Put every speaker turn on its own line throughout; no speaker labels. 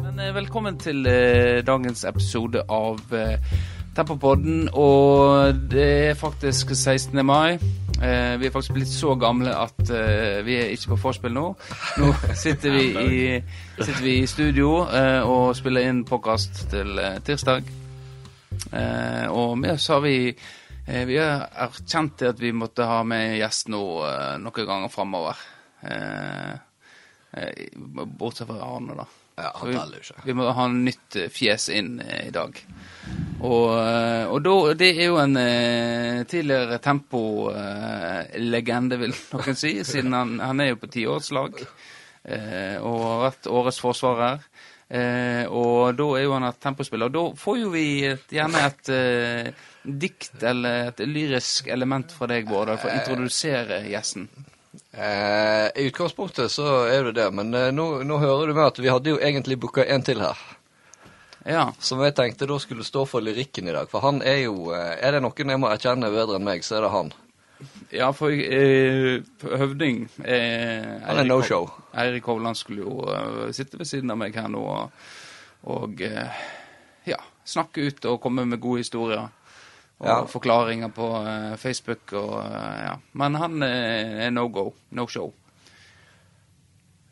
Men eh, velkommen til eh, dagens episode av eh, Tempopodden. Og det er faktisk 16. mai. Eh, vi er faktisk blitt så gamle at eh, vi er ikke på vorspiel nå. Nå sitter vi i, sitter vi i studio eh, og spiller inn podkast til eh, tirsdag. Eh, og med oss har vi eh, Vi har erkjent det at vi måtte ha med gjest nå eh, noen ganger framover. Eh, eh, bortsett fra Arne, da.
Ja,
Så
han
vi,
teller jo ikke.
vi må ha en nytt eh, fjes inn eh, i dag. Og, eh, og da, det er jo en eh, tidligere tempolegende, vil noen si, siden han, han er jo på tiårslag. Eh, og har vært årets forsvarer. Eh, og da er jo han et tempospiller. Og da får jo vi et, gjerne et eh, dikt eller et lyrisk element fra deg, Bård, for å introdusere gjesten.
Eh, I utgangspunktet så er det det, men eh, nå, nå hører du med at vi hadde jo egentlig booka en til her.
Ja.
Som jeg tenkte da skulle stå for lyrikken i dag. For han er jo eh, Er det noen jeg må erkjenne bedre enn meg, så er det han.
Ja, for eh, Høvding eh,
Han er
Eirik
no
Hov-
show.
Eirik Hovland skulle jo eh, sitte ved siden av meg her nå og, og eh, ja, snakke ut og komme med gode historier. Og
Ja.
forklaringer på eh, Facebook og eh, ja. Men han eh, er no go. No show.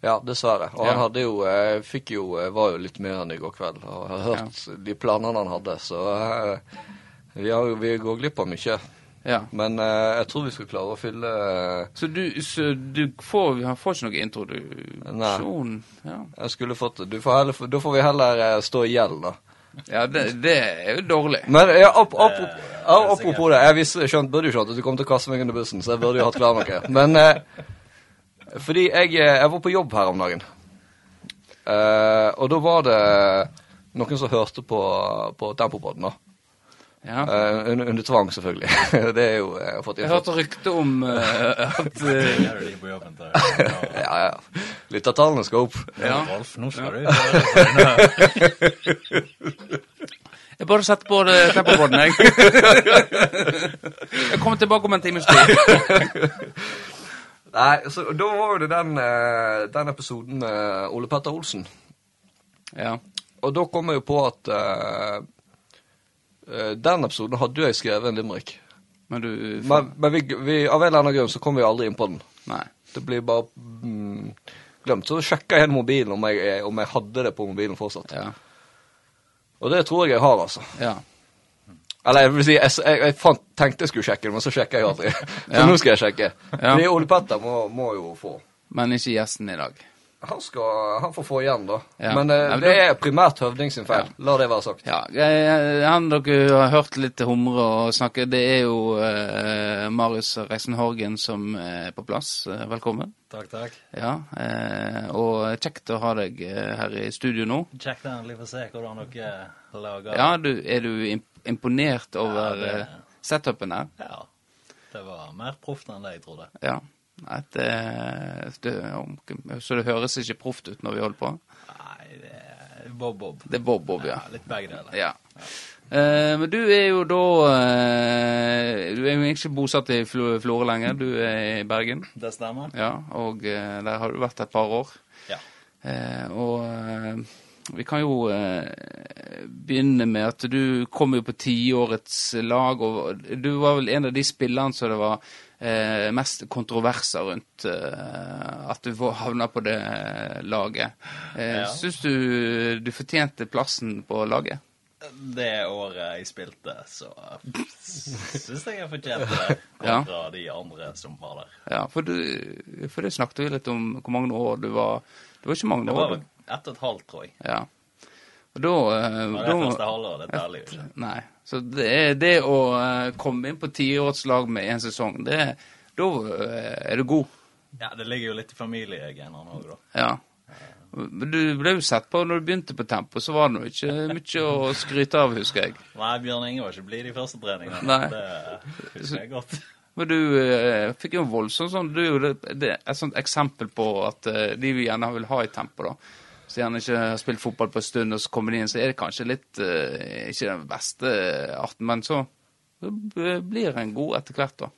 Ja, dessverre. Og
Ja.
han hadde jo eh, Fikk jo eh, Var jo litt mer enn i går kveld. Og jeg har hørt de planene han hadde, så eh, vi, har, jo- vi går glipp av mye.
Ja.
Men eh, jeg tror vi skal klare å fylle eh,
Så du, så du får, han får ikke noe introduksjon? Ja.
Jeg skulle fått du får heller, Da får vi heller eh, stå i gjeld, da.
ja, det, det er jo dårlig.
Men ja, opp, opp,
Eh,
opp, ja, apropos det, jeg visste, skjønt, burde jo skjønt at du kom til å kaste meg under bussen, så jeg burde jo hatt klar noe. Men eh, fordi jeg, eh, jeg var på jobb her om dagen, eh, og da var det noen som hørte på, på Tempopodden, da.
Ja.
Eh, under, under tvang, selvfølgelig. det er jo eh, Jeg har fått
Jeg
innført.
hørte rykte om eh, at eh,
Det gjør du ikke på jobben til ja.
Ja, ja. Lyttertallene skal opp.
Ja.
Rolf, nå skal du høre på denne
Jeg burde sett på det tempobåten, jeg. jeg kommer tilbake om en times tid.
Nei, så da var det den, eh, den episoden med Ole Petter Olsen.
Ja.
Og da kom jeg jo på at eh, eh, den episoden hadde jo jeg skrevet en limerick.
Men du
Men, men vi, vi, av en eller annen grunn så kom vi aldri inn på den.
Nei.
Det blir bare mm, glemt. Så sjekka jeg igjen mobilen om jeg, om jeg hadde det på mobilen fortsatt.
Ja.
Og det tror jeg jeg har, altså.
ja.
Eller jeg vil si, jeg, jeg, jeg fant, tenkte jeg skulle sjekke det, men så sjekka jeg aldri. Så
Ja.
nå skal jeg sjekke.
Ja.
Fordi Ole Petter må, må jo få.
Men ikke gjesten i dag.
Han, skal, han får få igjen, da.
Ja.
Men eh,
Nei, men
det
da-
er primært Høvding sin feil. La det være sagt.
Ja, jeg- Han dere har hørt litt humre og snakke, det er jo eh, Marius Reisen Horgen som er på plass. Eh, Velkommen.
Takk, takk.
Ja, eh, og kjekt å ha deg eh, her i studio nå.
Sjekk den litt for å se hvordan dere lager
Ja, du, Er du imp- imponert over
Ja, det-
eh, setupen her?
Ja. Det var mer proft enn det jeg trodde.
Ja. At, eh, det, om- så det høres ikke proft ut når vi holder på?
Nei, det er bob-bob.
Det er bob-bob, ja.
Litt begge deler.
ja. Eh, men du er jo da eh, Du er jo ikke bosatt i Flo- Florø lenger, du er i Bergen.
Det stemmer?
Ja, og eh, der har du vært et par år.
Ja.
Eh, og eh, vi kan jo eh, begynne med at du kom jo på tiårets lag, og du var vel en av de spillerne som det var eh, mest kontroverser rundt eh, at du var- havna på det laget. Eh,
Ja.
Syns du du fortjente plassen på laget?
Det året jeg spilte, så syns jeg jeg fortjente det.
Ja.
Kontra de andre som var der.
Ja, for, du, for det snakket vi litt om hvor mange år du var. Det var ikke mange
Det
år.
var
du.
ett og et halvt, tror jeg.
Ja. Og da, eh,
Det var
da
det første halvåret. Det teller jo ikke.
Nei. Så det, er- det å eh, komme inn på tiårslag med én sesong, det, da eh, er du god.
Ja, det ligger jo litt i familiegenene òg, da.
Ja. Men du ble jo sett på når du begynte på Tempo, så var det jo ikke mye å skryte av, husker jeg.
Nei, Bjørn Inge var ikke blid de første treningene.
Nei.
Det husker jeg godt.
Men du eh, fikk jo en voldsom sånn Du er jo det, det er et sånt eksempel på at eh, de vi gjerne vil ha i Tempo, da. Så gjerne ikke har spilt fotball på en stund, og så kommer de inn, så er det kanskje litt eh, Ikke den beste arten, men så b- blir en god etter hvert, da.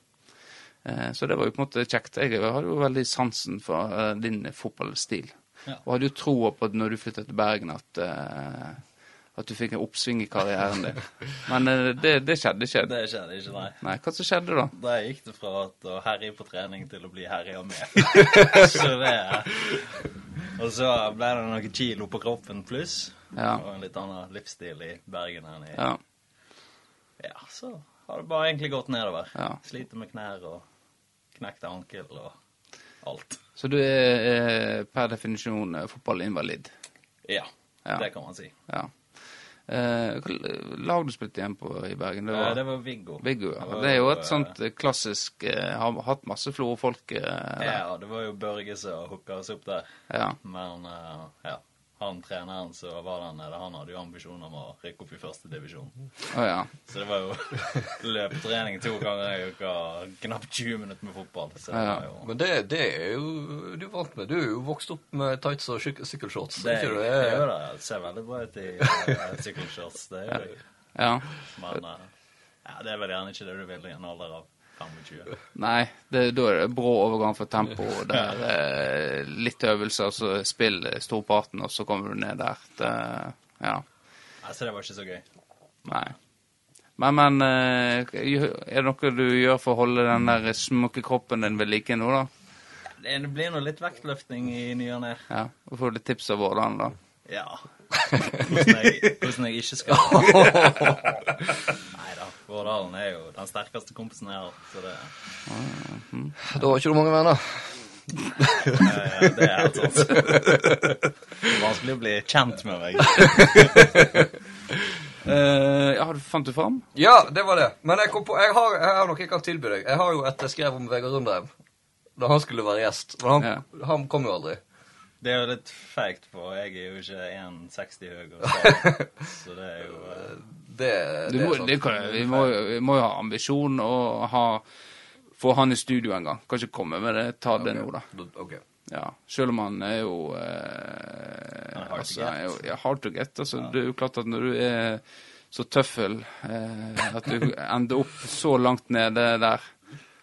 Eh, Så det var jo på en måte kjekt. Jeg hadde jo veldig sansen for eh, din fotballstil. Og hadde jo troa på at når du flyttet til Bergen, at, eh, at du fikk en oppsving i karrieren din. Men eh, det, det skjedde ikke.
Det skjedde ikke, nei.
Nei, hva som skjedde da?
Da gikk det fra at å herje på trening til å bli herja med. så det Og så ble det noen kilo på kroppen pluss.
Ja.
Og en litt annen livsstil i Bergen enn i
Ja,
Ja, så har det bare egentlig gått nedover.
Ja.
Sliter med knær og knekte ankel og alt.
Så du er eh, per definisjon eh, fotballinvalid.
Ja,
Ja.
det kan man si.
Ja. Eh, hva l- lag du spilte igjen på i Bergen? Det
Eh,
var
Det var Viggo.
Viggo.
Det
Ja.
var
Det er jo et
eh,
sånt eh, klassisk eh, Har hatt masse florfolk eh, der.
Ja, det var jo Børge som hooka oss opp der.
Ja.
Men eh, ja, han treneren som var der nede, han hadde jo ambisjoner om å rykke opp i første divisjon.
Å ja.
Så det var jo løpetrening to ganger i uka, knapt 20 minutter med fotball. Så det
Ja.
var jo
Men det, det er jo du er vant med. Du er jo vokst opp med tights og syk- sykkelshorts.
det,
ikke
er-
du?
det,
Det
er jo
er-
det. det ser veldig bra ut i eh, sykkelshorts. Det gjør det.
ja.
Men eh, ja, det er vel gjerne ikke det du vil i en alder av 25.
Nei, det, da er det brå overgang for tempo. Der, eh, litt øvelse, og så spill eh, storparten, og så kommer du ned der. Det, ja.
Altså, det var ikke så gøy.
Nei. Men, men eh, er det noe du gjør for å holde den der smukke kroppen din ved like nå, da?
Det det blir nå litt vektløfting i ny og ne.
Ja, og får litt tips av hvordan da.
Ja. Hvordan jeg, hvordan jeg ikke skal Nei da. Vårdalen er jo den sterkeste kompisen jeg har, så det,
Da har ikke du mange venner.
eh, det er helt sant. Det er vanskelig å bli kjent med meg.
Eh, ja, har du- fant du fram?
Ja, det var det. Men jeg kom på, jeg har, jeg har noe jeg kan tilby deg. Jeg har jo et jeg skrev om Vegard Rundheim da han skulle være gjest. Men han, han kom jo aldri.
Det er jo litt feigt, for jeg er jo ikke 1,60 høy, og så, så det er jo eh,
Det,
Du
det
må,
er sånn. sant.
det kan, vi, må, jo- vi må jo ha ambisjon og ha, få han i studio en gang. Kan ikke komme med det, ta det nå da.
Ok.
Ja. Selv om han er jo, eh,
Han er hard to
altså,
get.
han er jo ja, hard to get. Altså, Det er jo klart at når du er så tøffel eh, at du ender opp så langt nede der.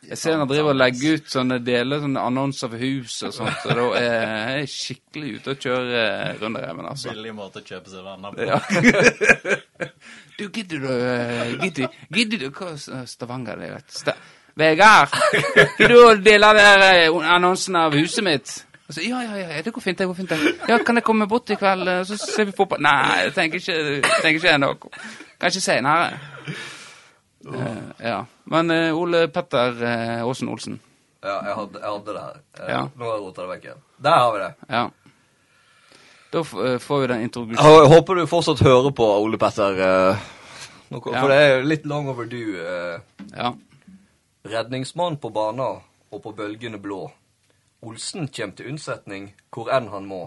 Jeg ser han driver og legger ut sånne deler, sånne annonser for hus og sånt, og da er jeg skikkelig ute og kjører runderheimen, altså.
billig måte å kjøpe seg venner på.
Ja. du, gidder du eh, Gidder, gidder du Hva sa Stavanger det, vet du? Sta Vegard! Gidder du å dele der eh, annonsen av huset mitt? Og så, ja, ja, ja, ja, det går fint, det går fint. det. Ja, Kan jeg komme bort i kveld, eh, så ser vi fotball? Nei, jeg tenker ikke, tenker ikke ennå. Kanskje seinere. Eh, ja. Men eh, Ole Petter eh, Åsen Olsen.
Ja, jeg hadde, jeg hadde det her. Eh,
Ja.
Nå har jeg rota det vekk igjen. Der har vi det.
Ja. Da f eh, får vi den introduksjonen.
Jeg håper du fortsatt hører på Ole Petter. eh, nå kom-
Ja.
For det er jo litt long overdue. eh,
Ja.
redningsmann på bana og på bølgene blå. Olsen kjem til unnsetning hvor enn han må.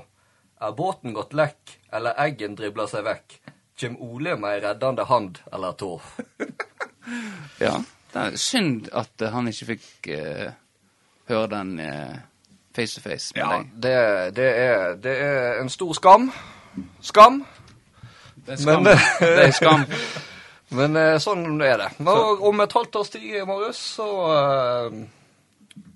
Er båten gått lekk, eller eggen dribler seg vekk, kjem Ole med ei reddende hand eller tå.
Ja. Det er synd at eh, han ikke fikk eh, høre den eh, face to face med deg.
det, det, er, det er en stor skam. Skam.
Det er
skam.
skam. det er skam.
Men eh, sånn er det. Og om et halvt års tid, Marius, så eh,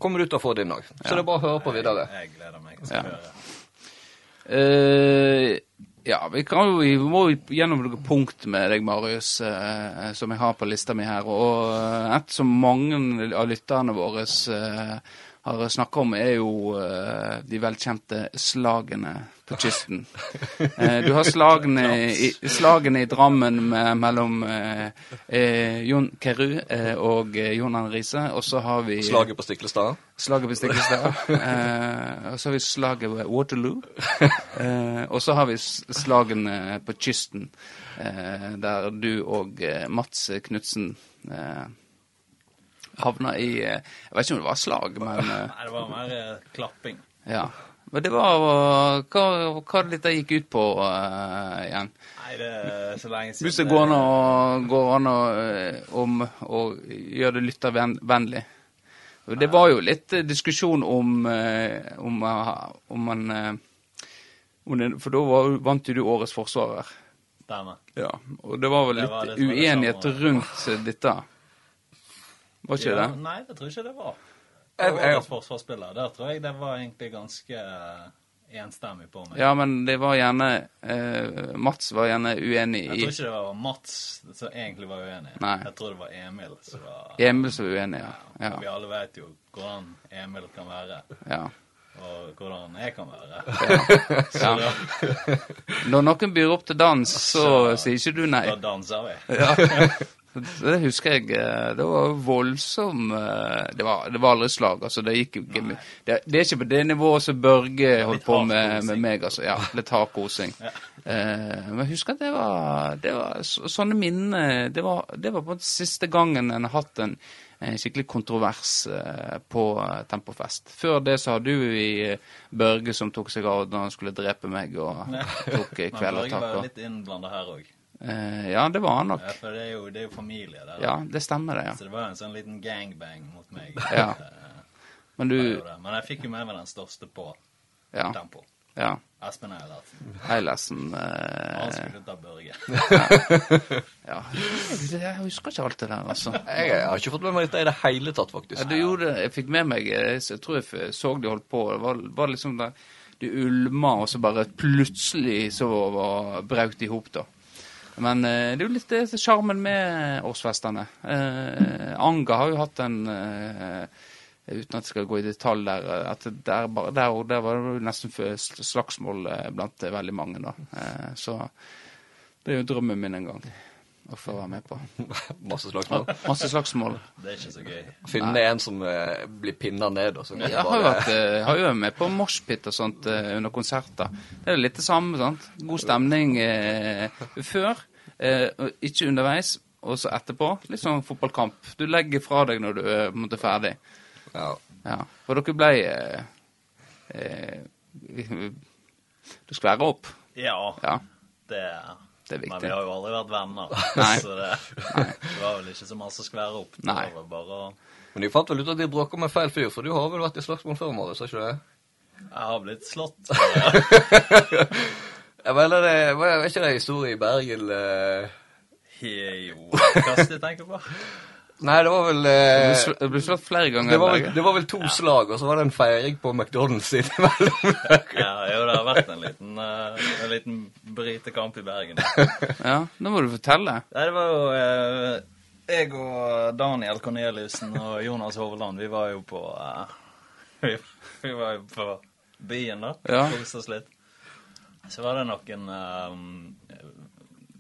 kommer du til å få din dag. Så det er bare å høre på videre.
Jeg gleder meg. Jeg skal
Ja.
høre.
Eh, ja, vi, kan, jo- vi må jo gjennom noen punkt med deg, Marius, eh, som jeg har på lista mi her. Og eh, et som mange av lytterne våre eh, har snakka om, er jo eh, de velkjente slagene på kysten. Eh, du har slagene i, slagene i Drammen med, mellom eh, eh, Jon Keru eh, og eh, Jon Arne Riise, og så har vi
Slaget på Stiklestad.
Slaget ved Stiklestad. eh, og så har vi slaget ved Waterloo. Eh, og så har vi s- slagene på kysten, eh, der du og eh, Mats Knutsen eh, havna i eh, Jeg vet ikke om det var slag, men eh,
Nei, det var mer eh, klapping.
ja. Men det var Hva, hva det litt det gikk ut på eh, igjen?
Nei, det er så lenge siden
Hvis det går an å, går an å, eh, om, å gjøre det lyttervennlig. Og Det var jo litt eh, diskusjon om eh, om, eh, om man eh, om det, For da var, vant jo du Årets forsvarer.
Stemmer.
Ja. Og det var vel
Det var
litt
det som var det
uenighet
samme.
rundt eh, dette. Var ikke
Ja,
det?
Nei, det tror jeg ikke det var.
Jeg- jeg-
Årets forsvarsspiller, der tror jeg det var egentlig ganske eh, enstemmig på meg.
Ja, men det var gjerne eh, Mats var gjerne uenig
Jeg
i
tror ikke det var Mats som egentlig var uenig.
Nei.
Jeg tror det var Emil som var
Emil som var uenig, ja.
Og Vi
ja.
alle vet jo hvordan Emil kan være,
ja.
og hvordan jeg kan være.
ja.
Da,
Når noen byr opp til dans, så sier ikke du nei.
da danser vi.
Så Det husker jeg. eh, Det var voldsom eh, Det var, det var aldri slag, altså. Det gikk jo ikke mye. Det, det er ikke på det nivået som Børge holdt på med, med
hardkosing.
meg, altså. Ja, litt hard kosing. Eh, men jeg husker at det var, det var så, Sånne minner det var, det var på en måte siste gangen en har hatt en, en skikkelig kontrovers eh, på eh, Tempofest. Før det så har du i eh, Børge som tok seg av da han skulle drepe meg og tok eh,
Men Børge
kvelertak.
var jo
og-
litt innblanda her òg.
Eh, ja, det var han nok.
For det er, jo, det er jo familie der.
Ja, det stemmer det, ja.
Så det var en sånn liten gangbang mot meg.
Ja.
Eh,
Men
det var
du
jo det. Men jeg fikk jo med meg den største på
Ja.
tempo.
ja.
Espen Eilertsen.
Eilertsen
Han
eh,
skulle ta Børge.
ja. Jeg husker ikke alt det der, altså.
Jeg, jeg har ikke fått med meg dette i det hele tatt, faktisk.
Ja, du gjorde, jeg fikk med meg eh, Jeg tror jeg f- så de holdt på. Det var, var liksom der Du ulma, og så bare plutselig så var braut i hop, da. Men eh, det er jo litt det som er sjarmen med årsfestene. Eh, Anga har jo hatt en eh, Uten at jeg skal gå i detalj der eh, at der, bare- der, og der var det jo nesten f- slagsmål eh, blant eh, veldig mange, da. Eh, så det er jo drømmen min en gang å få være med på.
Masse slagsmål.
Masse slagsmål.
Det er ikke så gøy.
Finne en som eh, blir pinna ned, og så kan
Jeg har jo,
bare
vært, eh, har jo vært med på moshpit og sånt eh, under konserter. Det er jo litt det samme. sant? God stemning eh, før, eh, og ikke underveis, og så etterpå. Litt sånn fotballkamp. Du legger fra deg når du er på en måte ferdig.
ja.
Ja. For dere ble eh, eh, Du skværer opp.
Ja,
Ja.
det
Det er viktig.
Men vi har jo aldri vært venner,
Nei.
så det, det var vel ikke så masse å skvære opp. Det
Nei.
var bare å
Men de fant vel ut at de bråka med feil fyr, for du har vel vært i slagsmål før, Marius? har ikke du det?
Jeg har blitt slått.
Ja, vel, er det, var er ikke det en historie i Bergen eh?
Jo, hva skal jeg tenke på?
Nei, det var vel
Du
eh,
sl- Du ble slått flere ganger.
det var vel,
Berge.
det var vel to slag, og så var det en feiring på McDonald's innimellom.
Ja, jo, det har vært en liten, eh, en liten britekamp i Bergen.
Ja, Nå må du fortelle.
Nei, det var jo eh, Jeg og Daniel Corneliussen og Jonas Hovland, vi var jo på eh, vi, vi var jo på byen, da.
Ja.
Koste oss litt. Så var det noen eh,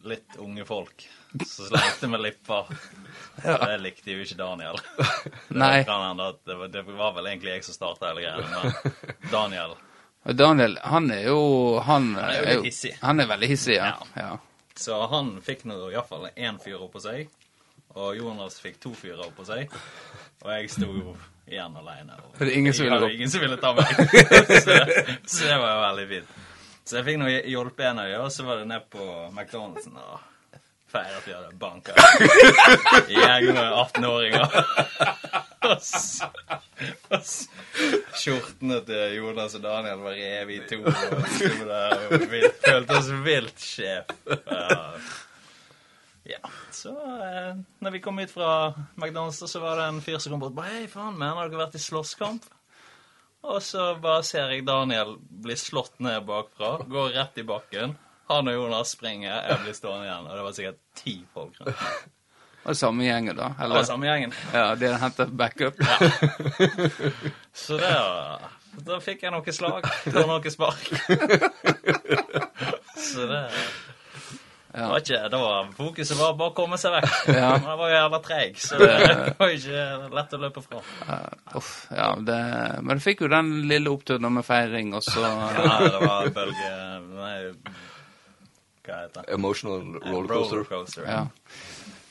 litt unge folk som slengte med lipper. Og Det likte jo ikke Daniel. Det
Nei.
kan hende at det, var, det var vel egentlig jeg som starta hele greia, men Daniel
Og Daniel, han er jo Han,
er jo litt hissig.
Han er veldig hissig, ja. ja.
Så han fikk nå iallfall én fyr oppå seg. Og Jonas fikk to fyrer oppå seg. Og jeg sto jo igjen aleine.
For det er ingen som ville gå-
ingen som ville ta meg. så, det, så det var jo veldig fint. Så jeg fikk nå hjulpet en av dem, og så var det ned på McDonald'sen og feiret at vi hadde banka gjeng med 18-åringer. Og så- og så- Skjortene til Jonas og Daniel var revet i to. Og vi sto der og vi følte oss vilt sjef. Ja. Ja, så eh, når vi kom ut fra McDonald's, så var det en fyr som kom bort og bare 'Hei, faen, men har dere vært i slåsskamp?' Og så bare ser jeg Daniel bli slått ned bakfra, går rett i bakken. Han og Jonas springer, jeg blir stående igjen, og det var sikkert ti folk rundt. meg.
Og samme gjengen, da?
Det
Eller?
var samme gjengen.
Ja, de hadde hentet backup.
Så det var Da fikk jeg noe slag og noe spark. Så det det var ikke, det var, Fokuset var bare å komme seg vekk.
Ja.
Men jeg var jo jævla treig, så det var jo ikke lett å løpe fra.
Uff, ja, det, men du fikk jo den lille oppturen med feiring, og så
Ja, det var bølge Nei, hva heter det?
Emotional rollercoaster.
Rollercoaster.
ja.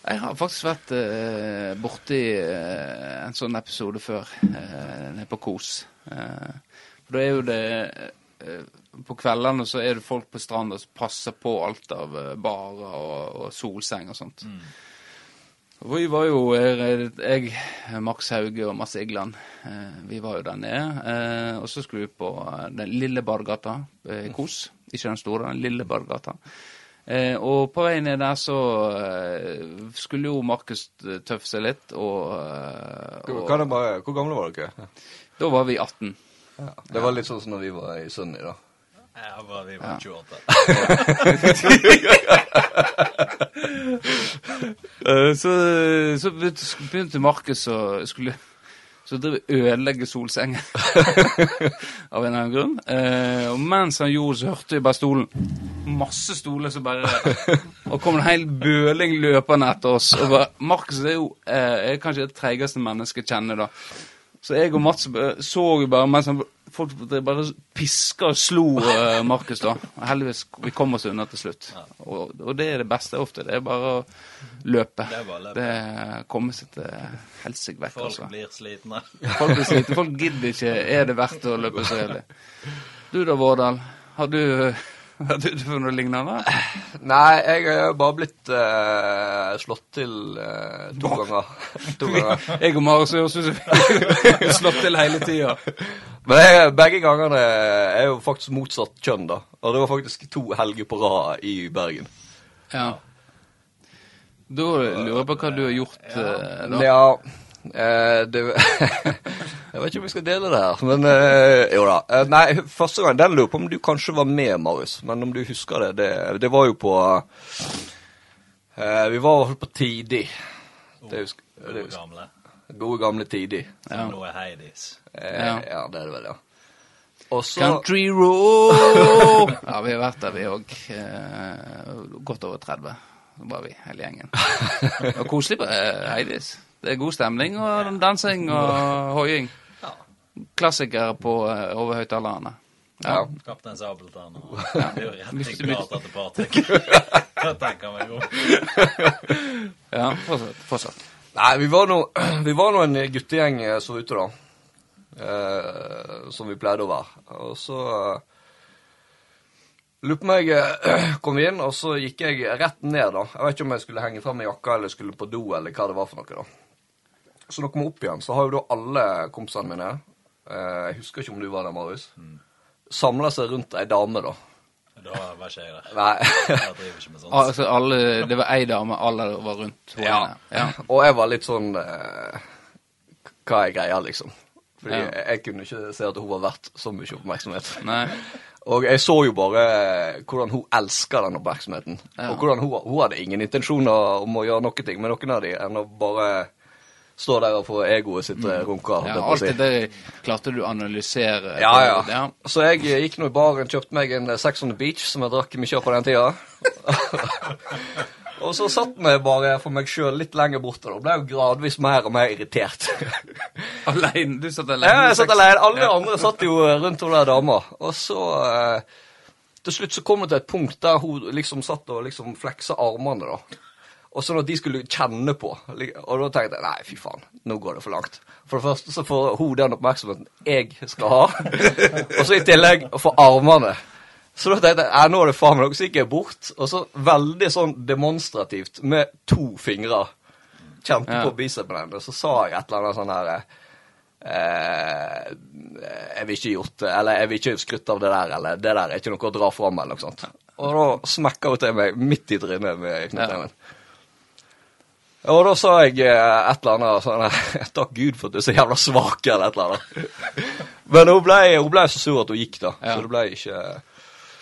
Jeg har faktisk vært eh, borti eh, en sånn episode før, eh, nede på Kos. Eh, for da er jo det eh, På kveldene så er det folk på stranda som passer på alt av eh, barer og, og solseng og sånt. Og Vi var jo eh, jeg, Max Hauge og Mads Igland. eh, Vi var jo der nede. eh, Og så skulle vi på eh, den lille Bargata eh, i Kos. Ikke den store, den lille Bargata. Eh, Og på vei ned der så eh, skulle jo Markus eh, tøffe seg litt, og, eh,
Hvor-
og
Kan jeg bare, hvor gamle var dere?
Da var vi 18.
Det var litt sånn som når vi var i Sunny, da.
Ja, bare vi var 28.
Eh, Så, så begynte- begynte Markus å skulle så drive og ødelegge solsengen av en eller annen grunn. Eh, og mens han gjorde, så hørte vi bare stolen. Masse stoler som bare Og kom en hel bøling løpende etter oss. Og bare, Markus er jo eh, er kanskje det treigeste mennesket jeg kjenner, da. Så jeg og Mats eh, så jo bare mens han, folk drev bare piska og slo eh, Markus, da. Og heldigvis vi kom oss unna til slutt. Og, og det er det beste ofte. Det er bare å løpe.
Det er bare å løpe.
Det er komme seg til helsike vekk,
Folk
altså.
blir slitne.
Folk blir slitne. Folk gidder ikke. Er det verdt å løpe så jævlig? Du da, Vårdal. Har du har du for noe lignende?
Nei, jeg har bare blitt eh, slått til eh, to ganger. to ganger.
Jeg og Marius høres ut som vi har slått til hele tida.
Men jeg, begge gangene er jo faktisk motsatt kjønn, da. Og det var faktisk to helger på rad i Bergen.
Ja. Da lurer jeg på hva du har gjort. eh, da.
Ja, eh, det Jeg vet ikke om vi skal dele det her, men eh, jo da. Eh, nei, første gang, den lurer på om du kanskje var med, Marius. Men om du husker det, det, det var jo på eh, Vi var i hvert fall på Tidig. Det husker, det
Gode
husker.
gamle.
Gode gamle Tidig.
Ja.
Som nå er Heidis.
Eh,
Ja.
ja. det er det vel, ja. Og så
Country road! Ja, vi har vært der, vi òg. Godt over 30 var vi, hele gjengen. Det var koselig på eh, Heidis. Det er god stemning og dansing og hoiing.
Ja.
Klassikere på eh, over høyttalerne.
ja.
Kaptein Sabeltann og Det er jo rett i klart at det partek. Det tenker meg jo.
Ja, fortsatt. fortsatt.
Nei, vi var nå vi var nå en guttegjeng eh, som var ute, da. Eh, som vi pleide å være. Og så eh, Lurer på om jeg eh, kom inn, og så gikk jeg rett ned, da. Jeg vet ikke om jeg skulle henge frem i jakka, eller skulle på do, eller hva det var for noe, da. Så når jeg kom opp igjen, så har jo da alle kompisene mine eh, Jeg husker ikke om du var der, Marius. Samla seg rundt ei dame, da.
Da var ikke jeg der.
Nei.
Jeg driver ikke med sånt.
Altså, alle, det var ei dame, alle var rundt
Ja.
henne. Ja.
Og jeg var litt sånn eh, Hva er greia, liksom? Fordi
Ja.
jeg, jeg kunne ikke se at hun var verdt så mye oppmerksomhet.
Nei.
Og jeg så jo bare eh, hvordan hun elsker den oppmerksomheten.
Ja.
Og hvordan hun, hun hadde ingen intensjoner om å gjøre noe ting med noen av de, enn å bare stå der og få egoet sitt eh, runka. holdt
Mm. Ja,
jeg på å
alt
si.
det der klarte du å analysere.
Ja, eh, ja.
ja.
Så jeg eh, gikk nå i baren, kjøpte meg en eh, Sex on the Beach, som jeg drakk mye av på den tida. og så satt jeg bare for meg sjøl litt lenger borte, og ble jo gradvis mer og mer irritert.
Alene. Du satt alene.
ja, jeg satt
Sex-
alene. Alle de andre satt jo eh, rundt hun der dama. Og så eh, Til slutt så kom det til et punkt der hun liksom satt og liksom fleksa armene, da. Og sånn at de skulle kjenne på. Li- Og da tenkte jeg nei, fy faen, nå går det for langt. For det første så får hun den oppmerksomheten jeg skal ha, og så i tillegg får armene. Så da tenkte jeg nei, nå er det faen meg noe. Så gikk jeg bort, og så veldig sånn demonstrativt med to fingre kjente
Ja.
på bicepsen hennes, og så sa jeg et eller annet sånn her eh, Jeg vil ikke gjort det, eller jeg vil ikke skrytte av det der, eller det der er ikke noe å dra fram, eller noe sånt. Og da smekka hun til meg midt i trynet med knyttneven. Og da sa jeg eh, et eller annet sånn her, Takk Gud for at du er så jævla svak, eller et eller annet. Men hun ble, hun ble så sur at hun gikk, da.
Ja.
Så det eh, ble ikke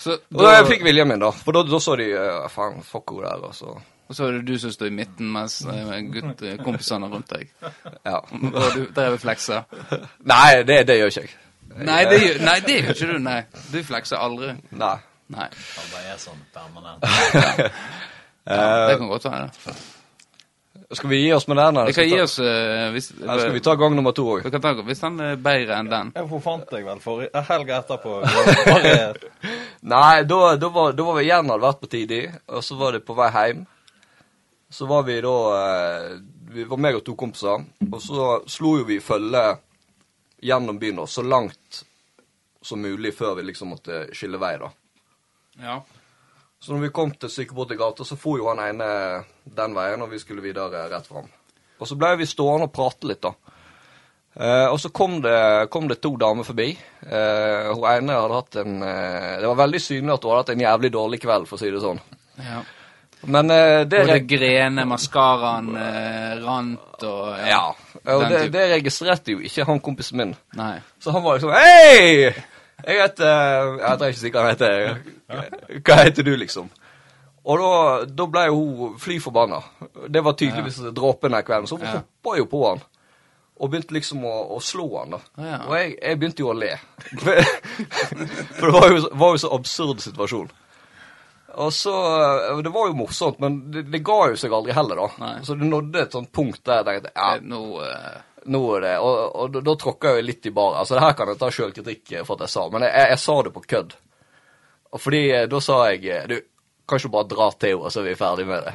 Så
Og da
da-
jeg fikk viljen min, da. For da, da så de eh, Faen, fuck hun der, og så
Og så er det du som står i midten, mens eh, gutt, eh, kompisene rundt deg.
Ja.
Og du drev og fleksa.
Nei, det, det gjør ikke jeg.
Nei, det gjør nei, det gjør ikke du. Nei. Du flekser aldri.
Nei.
Nei.
Han bare er sånn permanent.
Eh,
Ja, det kan godt være. det.
Skal vi gi oss med den? eller
Vi kan
skal
gi
ta-
oss eh, hvis,
Eller skal vi ta gang nummer to òg?
vi kan ta, hvis den er bedre enn den.
Ja, Hun fant deg vel forrige helga etterpå. Bare-
Nei, da, da, var, da var vi igjen hadde vært på Tidig, og så var det på vei hjem. Så var vi da eh, Vi var meg og to kompiser, og så slo jo vi følge gjennom byen da, så langt som mulig før vi liksom måtte skille vei, da.
Ja.
Så når vi kom til Sykebordet gata, så for jo han ene den veien, og vi skulle videre rett fram. Og så ble vi stående og prate litt, da. Eh, og så kom det, kom det to damer forbi. Eh, hun ene hadde hatt en eh, Det var veldig synlig at hun hadde hatt en jævlig dårlig kveld, for å si det sånn.
ja.
Men eh, det
Både
reg-
grene, maskaraen eh, rant og
Ja. Og
Den
det,
type.
det registrerte jo ikke han kompisen min.
Nei.
Så han var liksom Hei! Jeg heter Jeg er ikke sikker hva han heter. Hva heter du, liksom? Og da, da ble jo hun fly forbanna. Det var tydeligvis dråpen den kvelden. Så hun
Ja.
hoppa jo på han. Og begynte liksom å, å slå han, da.
Å, ja.
Og jeg, jeg begynte jo å le. For det var jo, var jo så absurd situasjon. Og så, eh, Det var jo morsomt, men det, det ga jo seg aldri heller, da.
Nei.
Så det nådde et sånt punkt der jeg tenkte ja,
Eh, Nå eh,
nå er det Og, og da, da tråkka jeg litt i baren. Altså, det her kan jeg ta sjølkritikk for at jeg sa, men jeg, jeg, jeg sa det på kødd. Og fordi eh, da sa jeg eh, Du, kan ikke du bare dra til henne, så er vi ferdig med det?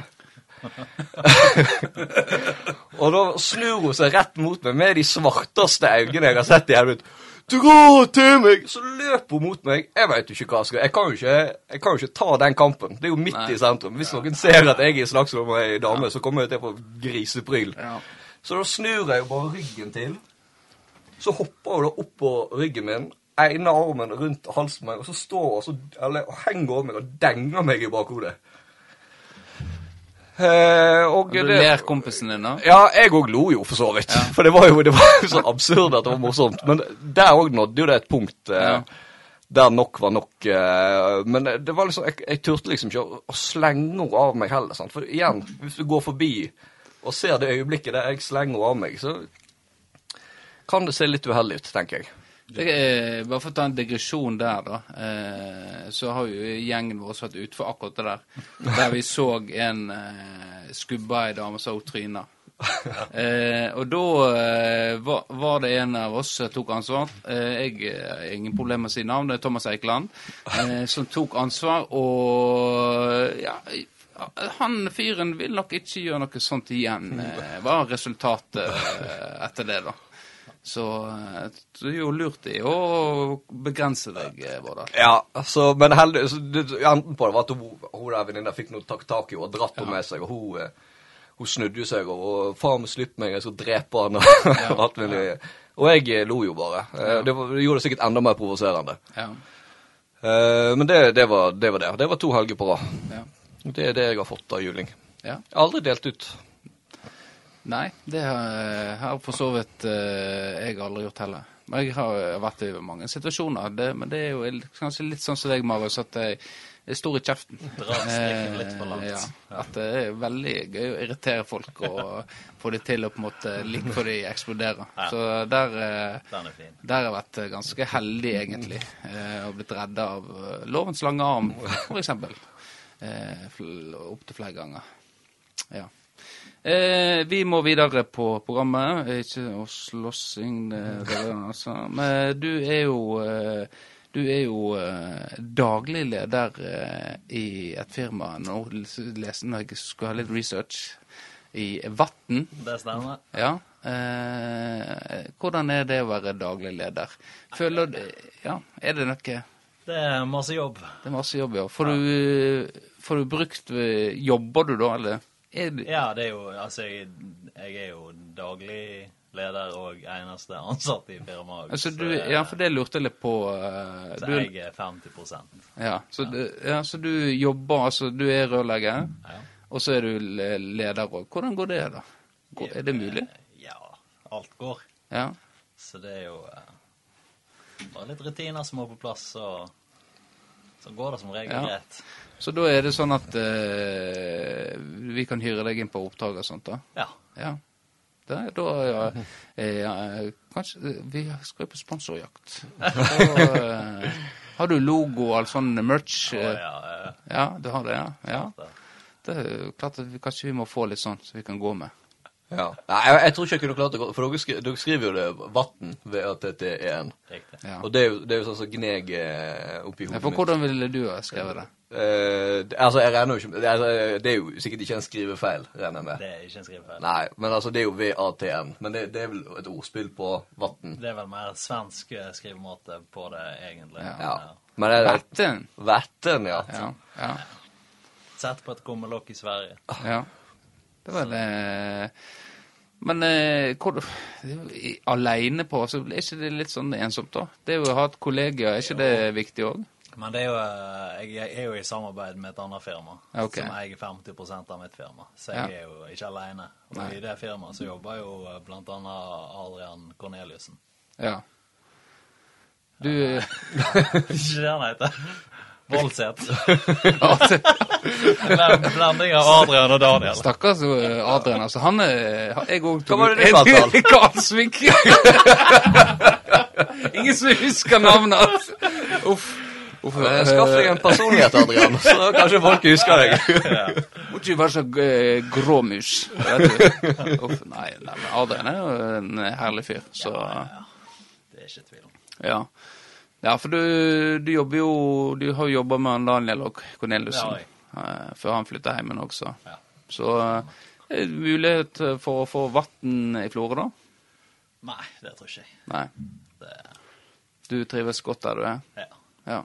og da snur hun seg rett mot meg med de svarteste øynene jeg har sett i hele mitt Dra til meg! Så løper hun mot meg. Jeg veit jo ikke hva jeg skal Jeg kan jo ikke, jeg kan jo ikke ta den kampen. Det er jo midt
Nei.
i sentrum. Hvis noen ser at jeg er i slagsmål med ei dame, så kommer jeg til å få grisepryl.
Ja.
Så da snur jeg jo bare ryggen til. Så hopper hun da opp på ryggen min, ene armen rundt halsen min, og så står hun og så, eller, og henger over meg og denger meg i bakhodet. Eh, og
Du
det-
ler kompisen din, da?
ja, jeg òg lo jo, for så vidt. For det var jo det var jo så absurd at det var morsomt. Men der òg nådde jo det et punkt eh,
Ja.
der nok var nok. Eh, men det var liksom, jeg, jeg turte liksom ikke å, å slenge henne av meg heller. Sant? For igjen, hvis du går forbi og ser det øyeblikket der jeg slenger henne av meg, så kan det se litt uheldig ut, tenker jeg.
Det, eh, bare for å ta en digresjon der, da. Eh, så har jo gjengen vår satt utfor akkurat det der. Der vi så en eh, skubba ei dame som hun tryna. Eh, og da eh, var, var det en av oss som tok ansvar. Eh, jeg eh, har ingen problemer med å si navn, det er Thomas Eikeland. Eh, som tok ansvar, og ja han fyren vil nok ikke gjøre noe sånt igjen, eh, var resultatet eh, etter det, da. Så eh, du er jo lurt i å begrense deg, eh, Vårdal.
Ja, altså, men heldig, så det, enten på det var at hun, hun der venninna fikk noe tak, tak i henne og dratt henne med seg, og hun, eh, hun snudde jo seg og, og 'Faen, slipp meg, jeg skal drepe han', og alt mulig. Og jeg eh, lo jo bare. Eh, Det, var, det gjorde det sikkert enda mer provoserende.
Ja,
Eh, Men det, det, var, det var det. Det var to helger på rad.
ja,
Det er det jeg har fått av juling.
ja.
Jeg har aldri delt ut.
Nei, det har har for så vidt eh, jeg aldri gjort heller. Men jeg har eh, vært i mange situasjoner, det, men det er jo el- kanskje litt sånn som deg, Marius, at jeg jeg er stor i kjeften.
Drar strikken litt for langt.
Eh, Ja, at det er veldig gøy å irritere folk og få de til å på en måte like før de eksploderer.
Ja.
Så der eh,
Den er fin.
Der har jeg vært eh, ganske heldig, egentlig, eh, og blitt redda av eh, lovens lange arm, f.eks. Eh, Opptil flere ganger. Ja. Eh, vi må videre på programmet. Eh, Ikke å slåssing, det, det er det, altså. Men du er jo eh, du er jo eh, daglig leder eh, i et firma nå, leste når jeg skulle ha litt research, i Vatn.
Det stemmer.
Ja. Eh, hvordan er det å være daglig leder? Føler du Ja, er det noe Det
Det er masse jobb.
er masse jobb, ja. Får du, eh, får du brukt eh, Jobber du da, eller? Er du,
Ja, det er jo Altså, jeg, jeg er jo daglig leder og eneste ansatt i firmaet.
altså,
så
du,
det-
ja, for det lurte jeg litt på. eh,
så
Du,
jeg er 50
ja, så, du- ja, så du jobber Altså, du er rørlegger,
Ja.
og så er du le- leder òg. Hvordan går det, da? Går- Er det mulig?
Ja. Alt går.
Ja.
Så det er jo eh, bare litt rutiner som må på plass, så, så går det som regel
Ja.
greit.
Så da er det sånn at eh, vi kan hyre deg inn på oppdrag og sånt, da?
Ja.
Ja. Det, da ja, eh, ja, Kanskje eh, vi skal jo på sponsorjakt. Så, eh, har du logo og all sånn merch?
Og,
eh,
ja, eh,
ja, du har det? Ja.
det.
ja. Det er jo klart at vi, kanskje vi må få litt sånn, så vi kan gå med.
Ja. Nei, jeg, jeg tror ikke jeg kunne klart det godt, for dere, skri, dere skriver jo det 'Vatn' ved at dette er en.
Riktig.
Ja.
Og det er jo, det er jo sånn som gneg eh, oppi
Ja,
hodet
for hvordan ville du ha skrevet det?
Eh, det- altså, jeg regner jo ikke med- det, altså, det er jo sikkert ikke en skrivefeil, regner jeg med.
Det er ikke en skrivefeil.
Nei, men altså, det er jo VATN. Men det, det er vel et ordspill på vann.
Det er vel mer svensk eh, skrivemåte på det, egentlig.
Ja.
Ja.
Men det er
Vetten?
Vetten, ja.
Ja. ja.
Sett på et kummelokk i Sverige.
Ja. Det var det Men eh, hvor, det er jo i- alene på, så er ikke det litt sånn ensomt, da? Det er jo å ha et kollegia, er ikke det viktig òg?
Men det er jo, eh, jeg er jo i samarbeid med et annet firma,
Ok.
som eier 50 av mitt firma. Så
Ja.
jeg er jo ikke alene. Og
Nei.
i det firmaet så jobber jo eh, blant annet Adrian Corneliussen.
Ja. Du
Ikke det han heter. Voldseth.
Adrian-
Bland- Blanding av Adrian og Daniel.
Stakkars eh, Adrian, altså. Han eh, har- Jeg òg
Hva var det du kalte han?
Karlsvik. Ingen som husker navnet hans. Uff. Uff.
Eh, Skaff deg en personlighet, Adrian, så kanskje folk husker deg.
Må ikke være så eh, gråmus. vet du. Uff, nei, nei, men Adrian er jo en herlig fyr, så
Det er ikke tvil om.
ja. Ja, for du, du jobber jo Du har jo jobba med han Daniel og Corneliussen
Det
eh, før han flytta hjemmen også.
Ja.
Så eh, er det mulighet for å få vann i Florø, da?
Nei, det tror ikke jeg.
Nei.
Det
Du trives godt der du er?
ja.
Ja.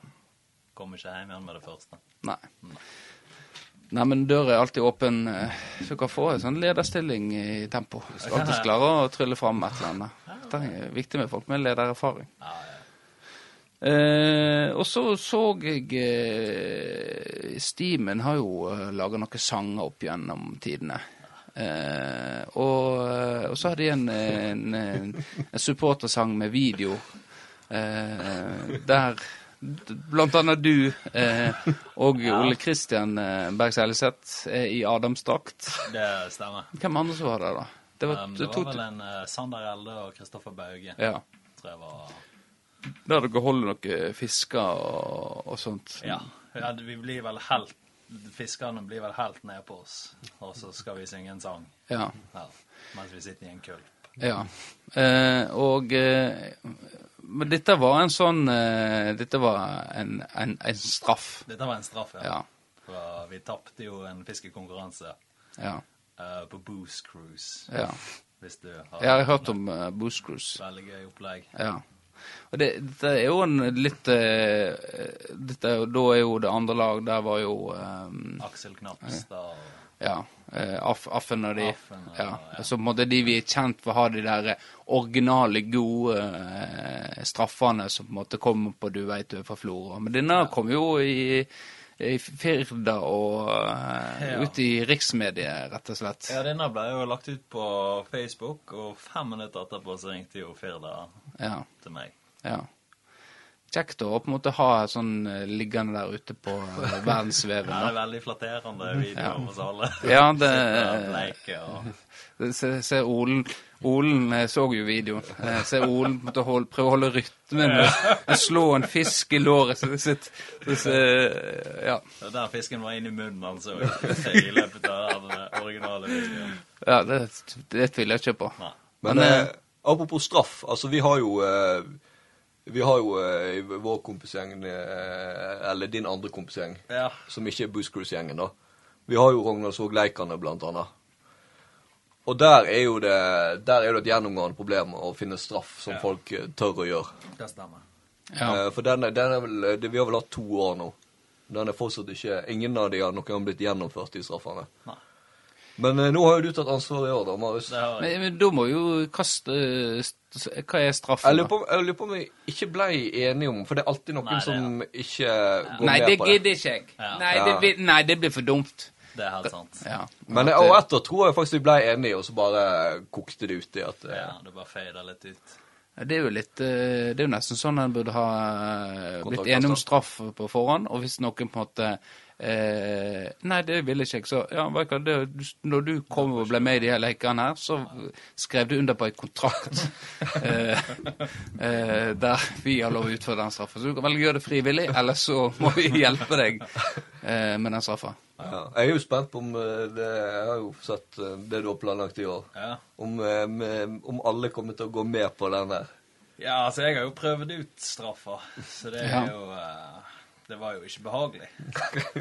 kommer ikke hjem igjen med det første.
Nei. Nei, men døra er alltid åpen, eh, så du kan få en sånn lederstilling i tempo. Hvis du alltid klarer å trylle fram et eller annet. Det er viktig med folk med ledererfaring. Eh, og så så jeg eh, Steamen har jo eh, laga noen sanger opp gjennom tidene. Eh, og, eh, og så har de en, en, en, en supportersang med video eh, der d- blant annet du eh, og Ole Kristian eh, Berg Seljeseth er i Adamsdrakt.
Det stemmer.
Hvem andre som var der, da? Det var,
Um,
det
det
to-
var vel en eh, Sander Elde og Kristoffer Bauge.
ja.
Tror jeg var
Der dere holder noen fisker og, og sånt.
Ja. ja vi blir vel helt Fiskerne blir vel helt ned på oss, og så skal vi synge en sang
ja.
ja, mens vi sitter i en kulp.
Ja. Eh, og eh, Men dette var en sånn eh, Dette var en, en, en straff.
Dette var en straff, ja.
Ja.
For eh, vi tapte jo en fiskekonkurranse
Ja.
eh, på Booze Cruise,
ja.
hvis du har
Jeg har hørt om eh, Booze Cruise.
Veldig gøy opplegg.
Ja. Og det, dette er jo en litt eh, dette, er jo- Da er jo det andre lag Der var jo eh,
Aksel Knapstad og
Ja. eh, Aff, Affen og de.
Affen og-
Ja. Så på en måte de vi er kjent for å ha de der eh, originale, gode eh, straffene som på en måte kommer på du veit du er fra Florø. Men denne kom jo i, i Firda og eh,
Ja.
ut i riksmediet, rett og slett.
Ja, denne ble jo lagt ut på Facebook, og fem minutter etterpå så ringte jo Firda
Ja.
til meg.
ja. Kjekt å på en måte ha et sånn eh, liggende der ute på eh, verdensveven.
Ja, det
da.
er veldig flatterende videoer om oss alle.
Ja, det-
Sitter og Bleike og
Se, se Olen Olen jeg så jo videoen. Eh, Se Olen måtte holde, prøve å holde rytmen. og Slå en fisk i låret så det sitt. Så, så, ja.
og Den fisken var inni munnen hans òg, i løpet av den originale videoen.
ja, det, det tviler jeg ikke på.
Nei.
Men eh, apropos straff, altså vi har jo eh, Vi har jo eh, i vår kompisgjeng, eh, eller din andre kompisgjeng,
Ja.
som ikke er Booze Cruise-gjengen, da. Vi har jo Rognaldsvåg Leikane, blant annet. Og der er jo det der er det et gjennomgående problem å finne straff som
Ja.
folk eh, tør å gjøre.
Det stemmer.
Ja.
Eh, for den er, den er vel eh, det, Vi har vel hatt to år nå. Den er fortsatt ikke Ingen av de har noen gang blitt gjennomført, de straffene.
Nei.
Men eh, nå har jo du tatt ansvar i år, da, Marius.
Det har jeg.
Men, men da må jo kaste st- Hva er
Jeg
straffen?
lurer
da?
på om- jeg lurer på om vi ikke ble enige om For det er alltid noen
Nei, det er
som ikke går
Nei, det
med på det.
gidder ikke jeg.
Ja.
Nei det, blir- nei, det blir for dumt.
Det er helt sant.
Ja.
Men eh, og etter tror jeg faktisk vi ble enige, og så bare kokte det ut i at eh,
Ja, det bare fader litt ut.
Ja, Det er jo litt eh, Det er jo nesten sånn en burde ha eh, blitt
Kontaktkast,
enig om
da.
straff på forhånd, og hvis noen på en måte eh, Nei, det ville ikke jeg, så ja, vet du hva, det, du- Når du kom og ble med i de her lekene her, så skrev du under på en kontrakt eh, eh, der vi har lov å utføre den straffen. Så du kan velge å gjøre det frivillig, eller så må vi hjelpe deg eh, med den straffa.
ja. Jeg er jo spent på om eh, det Jeg har jo sett eh, det du har planlagt i år.
Ja.
Om, eh, med- om alle kommer til å gå med på den der.
ja, altså, jeg har jo prøvd ut straffa, så det
Ja.
er jo eh, Det var jo ikke behagelig.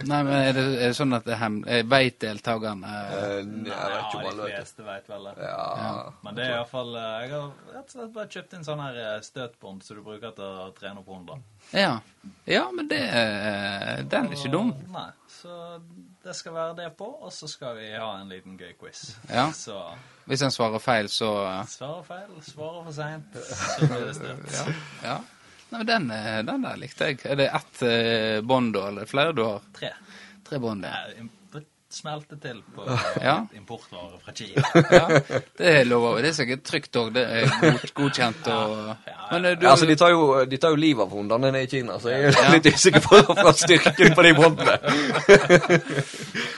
Nei, men er det, er det sånn at det er hem- eh, veit deltakerne eh,
Eh, jeg vet ikke om
ja,
alle
de
vet det.
fleste veit vel det.
Ja.
Men det er iallfall eh, Jeg har rett og slett bare kjøpt en sånn her eh, støtbånd som du bruker til å trene opp hunder.
Ja. ja, men det eh, Den er ikke dum.
Og- Nei. Så det skal være det på, og så skal vi ha en liten gøy quiz.
Ja.
Så
Hvis en svarer feil, så eh,
svarer feil, svarer for seint, så blir det støt.
Ja. ja. Nei, men den, eh, den der likte jeg. Er det ett eh, bånd, da, eller flere du har?
Tre.
Tre bånd, ja.
Nei, imp- smelte til på
Ja.
importvarer fra Kina.
Ja, det er lov. å- Det er sikkert trygt òg. Det er god, godkjent og Men eh, du
altså, de tar jo, de tar jo livet av hundene nede i Kina, så jeg er litt usikker på fra styrken på de båndene.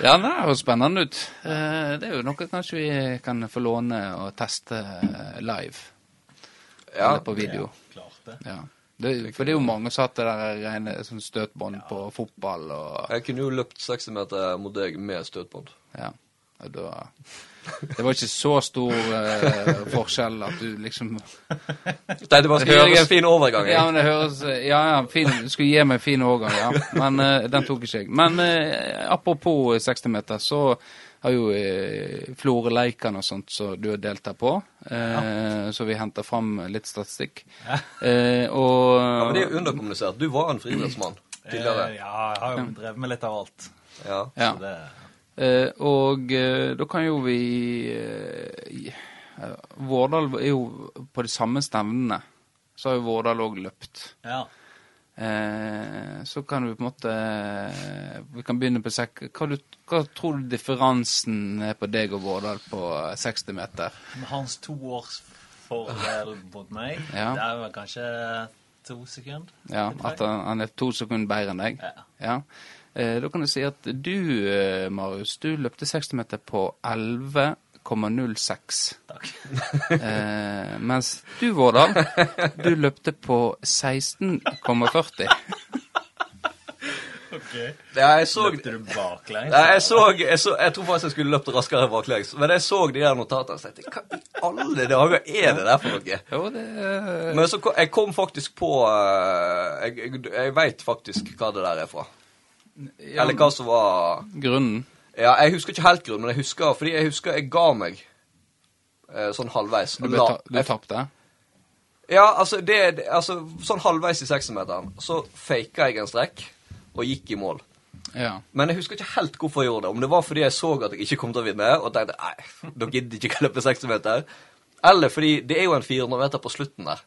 Ja, det høres spennende ut. Eh, Det er jo noe kanskje vi kan få låne og teste eh, live.
Ja.
Eller på video.
Klart det.
Ja. Det, for det er jo mange som har hatt det der rene sånn støtbånd på fotball og
Jeg kunne jo løpt 60 meter mot deg med støtbånd.
Ja. Og da Det var ikke så stor eh, forskjell at du liksom
Nei, det bare skal gjøre en fin overgang.
Ja,
Jeg.
men det høres Ja, ja, fin, du skulle gi meg en fin årgang, ja. Men eh, den tok ikke jeg. Men eh, apropos 60-meter, så har jo uh, Flore Leikan og sånt som du har deltatt på, eh, så vi henter fram litt statistikk. Eh, og
Ja, men det er jo underkommunisert. Du var en friidrettsmann tidligere.
Eh, Ja, jeg har jo drevet med litt av alt.
Ja.
ja.
Så det
Eh, og eh, da kan jo vi eh, i- eh, Vårdal er jo på de samme stevnene. Så har jo Vårdal òg løpt.
Ja.
Eh, så kan vi på en måte eh, Vi kan begynne på sekk. Hva, du, hva tror du differansen er på deg og Vårdal på 60 meter?
Med hans to års fordel mot meg,
Ja.
det er vel kanskje to sekunder.
Ja, At han, han er to sekunder bedre enn deg?
Ja.
Ja. Eh, da kan du si at du, eh, Marius, du løpte 60 meter på 11,06.
Takk.
Eh, mens du, Vårdal, du løpte på 16,40.
Ok.
Ja, jeg så
Løpte du baklengs?
Nei, jeg så, jeg så Jeg tror faktisk jeg skulle løpt raskere baklengs, men jeg så de der notatene og så tenkte jeg, Hva i alle dager er det der for noe?
Jo, det eh,
Men så kom, jeg kom faktisk på eh, Jeg, jeg, jeg veit faktisk hva det der er fra.
ja,
Eller hva som var
Grunnen.
Ja, jeg husker ikke helt grunnen, men jeg husker fordi jeg husker jeg ga meg. eh, Sånn halvveis.
Du, ble
La-
ta, du
jeg-
tapte?
Ja, altså, det, det- altså sånn halvveis i 60-meteren så faka jeg en strekk og gikk i mål.
Ja.
Men jeg husker ikke helt hvorfor jeg gjorde det. Om det var fordi jeg så at jeg ikke kom til å vinne, og tenkte nei, da gidder jeg ikke å løpe 60 meter. Eller fordi det er jo en 400 meter på slutten der.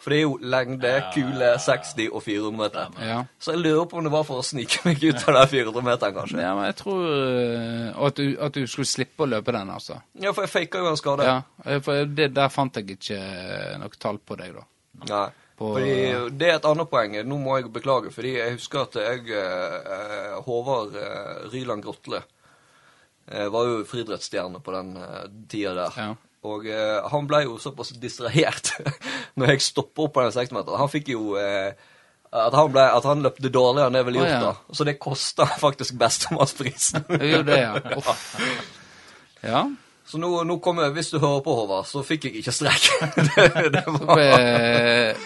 For det er jo lengde, kule, 60 og 400 meter.
Ja.
Så jeg lurer på om det var for å snike meg ut av den 400 meteren, kanskje.
ja, men jeg tror eh, Og at du, at du skulle slippe å løpe den, altså.
Ja, for jeg faka jo en skade.
Ja, eh, for det, der fant jeg ikke noe tall på deg, da.
Nei.
På- eh,
fordi det er et annet poeng. Nå må jeg beklage, fordi jeg husker at jeg, eh, eh, Håvard eh, Ryland Grotle, eh, var jo friidrettsstjerne på den eh, tida der.
Ja.
Og eh, han ble jo såpass distrahert når jeg stoppa opp på den 60-meteren. Han fikk jo eh, at han, ble, at han løpte dårligere enn jeg ville
Å,
gjort
ja.
da. Så det kosta faktisk bestemannsprisen.
Jeg gjorde det, ja. Uff. Ja.
Så nå, nå kommer, hvis du hører på, Håvard, så fikk jeg ikke strekk. det, det
så
var,
Be, Eh,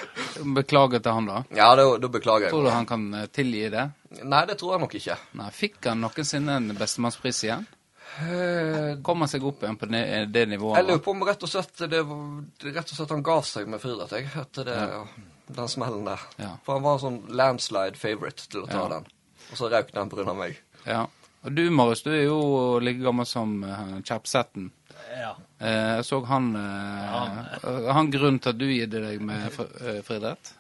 beklager til han, da.
ja, da, da beklager jeg.
Tror du han kan eh, tilgi det?
Nei, det tror jeg nok ikke.
Nei, fikk han noensinne en bestemannspris igjen?
Eh,
Kom han seg opp igjen på det, det nivået?
Jeg lurer på om rett og slett det var, rett og slett han ga seg med friidrett, jeg, etter det, den smellen der.
Ja.
For han var en sånn landslide favorite til å ta
Ja.
den. Og så røk den pga. meg.
Ja. Og du, Marius, du er jo like gammel som eh, Chapsetten.
Ja.
Eh, Jeg så han eh, eh, Han grunnen til at du gidde deg med fr- eh, friidrett?
ja.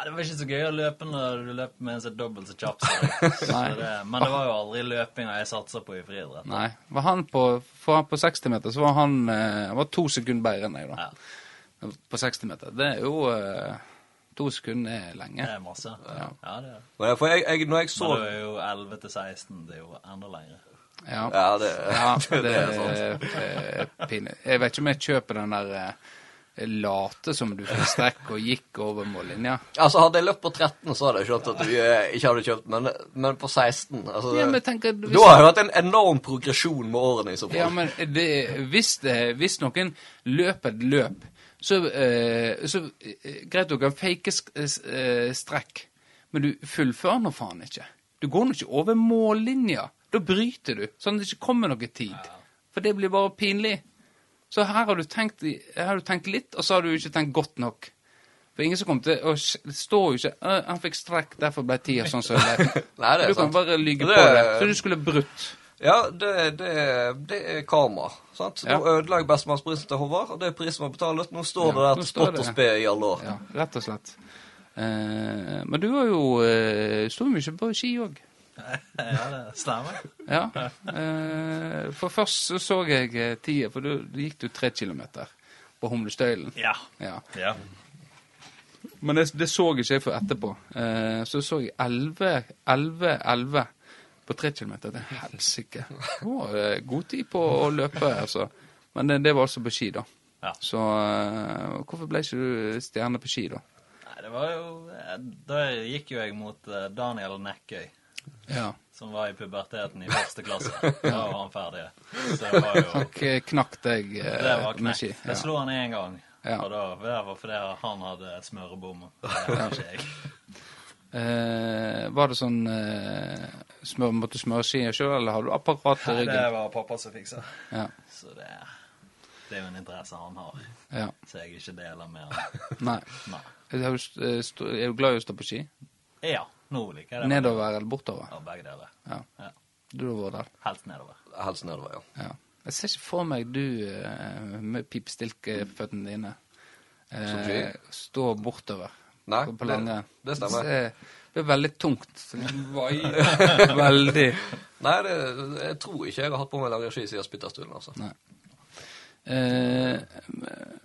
Det var ikke så gøy å løpe når du løper med en som er dobbelt så kjapp som deg. Så
Nei.
det- Men det var jo aldri løpinga jeg satsa på i friidrett.
Nei. Var han på, for han på 60 meter så var han, eh, han var to sekunder bedre enn jeg, da.
Ja,
På 60 meter. Det er jo eh, To sekunder er
det
lenge.
er masse. Ja, det er det.
Men jeg, for jeg, jeg, når jeg så
Men du er jo 11 til 16, det er jo enda lenger.
Ja.
Ja, det,
Ja, det, sånn.
det er sant.
er pinlig. Jeg vet ikke om jeg kjøper den der eh, late som du fikk strekk og gikk over mållinja.
Altså, Hadde jeg løpt på 13, så hadde jeg skjønt at vi eh, ikke hadde kjøpt, men, men på 16 altså,
Ja, men jeg tenker, hvis-
Da har jeg hatt en enorm progresjon med årene, i så fall.
Ja, men det, hvis, det, hvis noen løper et løp, så, eh, så eh, greit du kan fake sk- s- eh, strekk, men du fullfører nå faen ikke. Du går nå ikke over mållinja. Da bryter du, sånn at det ikke kommer noe tid. For det blir bare pinlig. Så her har du tenkt, i- her har du tenkt litt, og så har du ikke tenkt godt nok. For ingen som kommer til å s- står jo ikke «Ø, 'Han fikk strekk, derfor ble tida sånn som det ble'.
Nei, det er
du kan
sant.
bare lyge
Det-
på det. Så du skulle brutt.
Ja, det, det, det er karma. sant?
Ja.
Nå ødela jeg bestemannsprisen til Håvard, og det er prisen man betaler. Nå står det
Ja,
der
nå
til
står
spott
det.
og spe i alle år.
Ja, rett og slett. Eh, men du har jo eh, sto mye på ski òg.
Ja, det stemmer.
Ja. Eh, for først så så jeg eh, tida, for da gikk du tre kilometer på Humlestøylen.
Ja.
Ja.
ja.
Men det, det så ikke jeg før etterpå. Eh, så så jeg 11, 11, 11 på tre kilometer. Det er helsike. Det var eh, god tid på å løpe, altså. Men det, det var altså på ski, da.
Ja.
Så eh, hvorfor ble ikke du stjerne på ski, da?
Nei, det var jo eh, Da gikk jo jeg mot eh, Daniel Nekkøy,
Ja.
som var i puberteten i første klasse. Da var han ferdig. Så det var jo
K knakk deg eh,
Det var
med ski.
knekt.
Ja.
Jeg slo han én gang,
Ja.
og da, det var fordi han hadde smørebom. Det hadde ikke jeg.
Eh, var det sånn eh, smør, Måtte du smøre skia sjøl, eller har du apparat i
Nei, det
ryggen?
var pappa som fiksa.
Ja.
Så det, det er jo en interesse han har,
ja.
så jeg ikke deler med han.
Nei.
Nei.
Er du, st- eh, st- er du glad i å stå på ski?
Ja, nå liker jeg det.
Nedover eller bortover?
Ja, begge deler.
Ja.
Ja.
Du har vært der.
Helst nedover.
Helst nedover, ja.
Ja. Jeg ser ikke for meg du eh, med pipstilkeføttene dine eh,
Stå på ski?
stå bortover
Nei,
på- på
det-
langrenn.
det stemmer.
Det, det er veldig tungt. så det vaier veldig.
Nei, det, jeg tror ikke jeg har hatt på meg langrennsski siden Spytterstuen, altså.
Nei. Eh,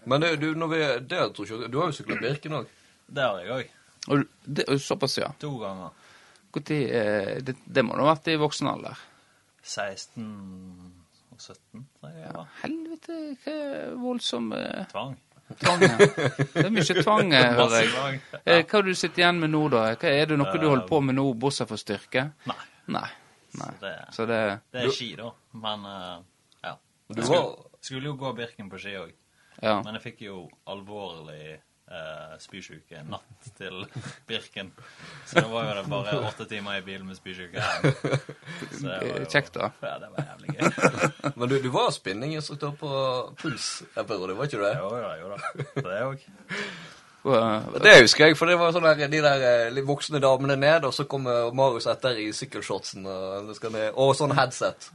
Men det, du, når vi, det tror ikke, jeg- du har jo syklet Birken òg.
Det har jeg òg.
og du- det, og såpass, ja.
To ganger.
Hvor tid, eh, det, det må da ha vært i voksen alder.
16 og 17, tror jeg
Ja,
det var.
helvete, hva voldsom eh,
Tvang.
tvang her. Det er mye tvang, eh, hører
Masse
jeg.
tvang.
Eh, Hva har du sitter igjen med nå, da? Hva Er det noe du
Eh,
holder på med nå, bortsett fra styrke?
Nei.
Nei. Nei.
Så det-
Så det
Det er ski, da. Men eh, ja.
Du
Jeg
var-
skulle, skulle jo gå Birken på ski òg,
Ja.
men jeg fikk jo alvorlig uh, spysjuke natt til Birken. Så da var jo det bare åtte timer i bilen med spysjuke. hjem. Så det var jo-
Kjekt, da.
Ja, det var jævlig gøy.
Men du, du var spinninginstruktør på Puls en periode, var ikke du det?
Jo da, jo da. Så det òg.
Og, eh,
Det husker jeg, for det var sånn der, de der eh, litt voksne damene ned, og så kommer Marius etter i sykkelshortsen og, det skal ned- og sånn headset.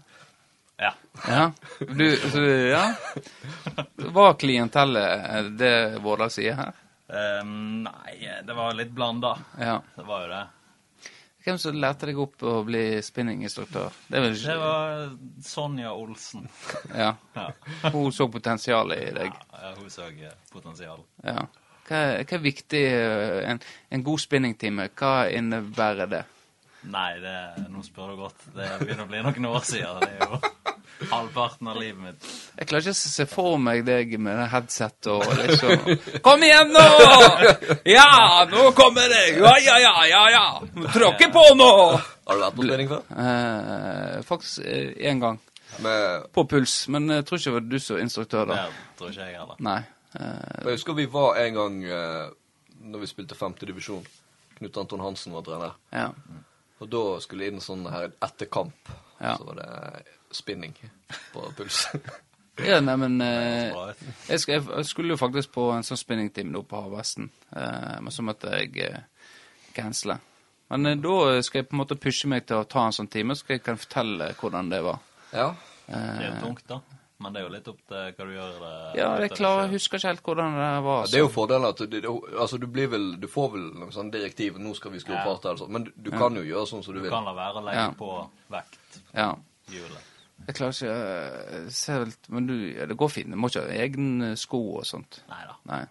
Ja.
Ja. Du, så, ja. Var klientellet eh, det Vårdal sier her?
Eh, nei, det var litt blanda.
Ja.
Det var jo det.
Hvem som lærte deg opp å bli spinninginstruktør? Det er vel
Det
ikke
var Sonja Olsen.
Ja.
Ja,
Hun så potensialet i deg.
ja hun så eh, potensial.
Ja. Hva, hva er viktig eh, En, en god spinningtime, hva innebærer det?
Nei, det, nå spør du godt. Det begynner å bli noen år siden. Det er jo halvparten av livet mitt.
Jeg klarer ikke å se for meg deg med det headset og liksom Kom igjen, nå! Ja, nå kommer det! Ja, ja, ja, ja, ja! Tråkke på nå!
Har du vært på spinning før?
Eh, faktisk én gang.
Med,
På puls, men jeg tror ikke det var du som var instruktør da.
Det tror ikke jeg heller.
Nei. Eh,
jeg husker vi var en gang eh, når vi spilte femte divisjon. Knut Anton Hansen var trener.
ja.
Og da skulle inn sånn her etter kamp.
Ja.
Så var det eh, spinning på Puls.
ja, nei, men
Det
eh,
var bra.
jeg, skal, jeg skulle jo faktisk på en sånn spinningtime nå på Havvesten, eh, men så måtte jeg eh, cancele. Men eh, da skal jeg på en måte pushe meg til å ta en sånn time, så skal jeg kan fortelle hvordan det var.
ja.
Det er jo tungt, da. Men det er jo litt opp til hva du gjør. eh,
Eh. Ja,
etter
jeg
det
klarer,
skjer.
husker ikke helt hvordan det var.
Ja,
Altså.
Det er jo fordelen at du, du- altså, du, blir vel, du får vel noen sånne direktiv nå skal vi skru opp
Ja.
farten, altså. men du, du kan jo gjøre sånn som du
Du
vil.
kan la være å legge
Ja.
på vekt.
Ja.
Hjulet.
Jeg klarer ikke øh, se helt, Men du, ja, det går fint. Du må ikke ha egne sko og sånt.
Nei da.
Nei.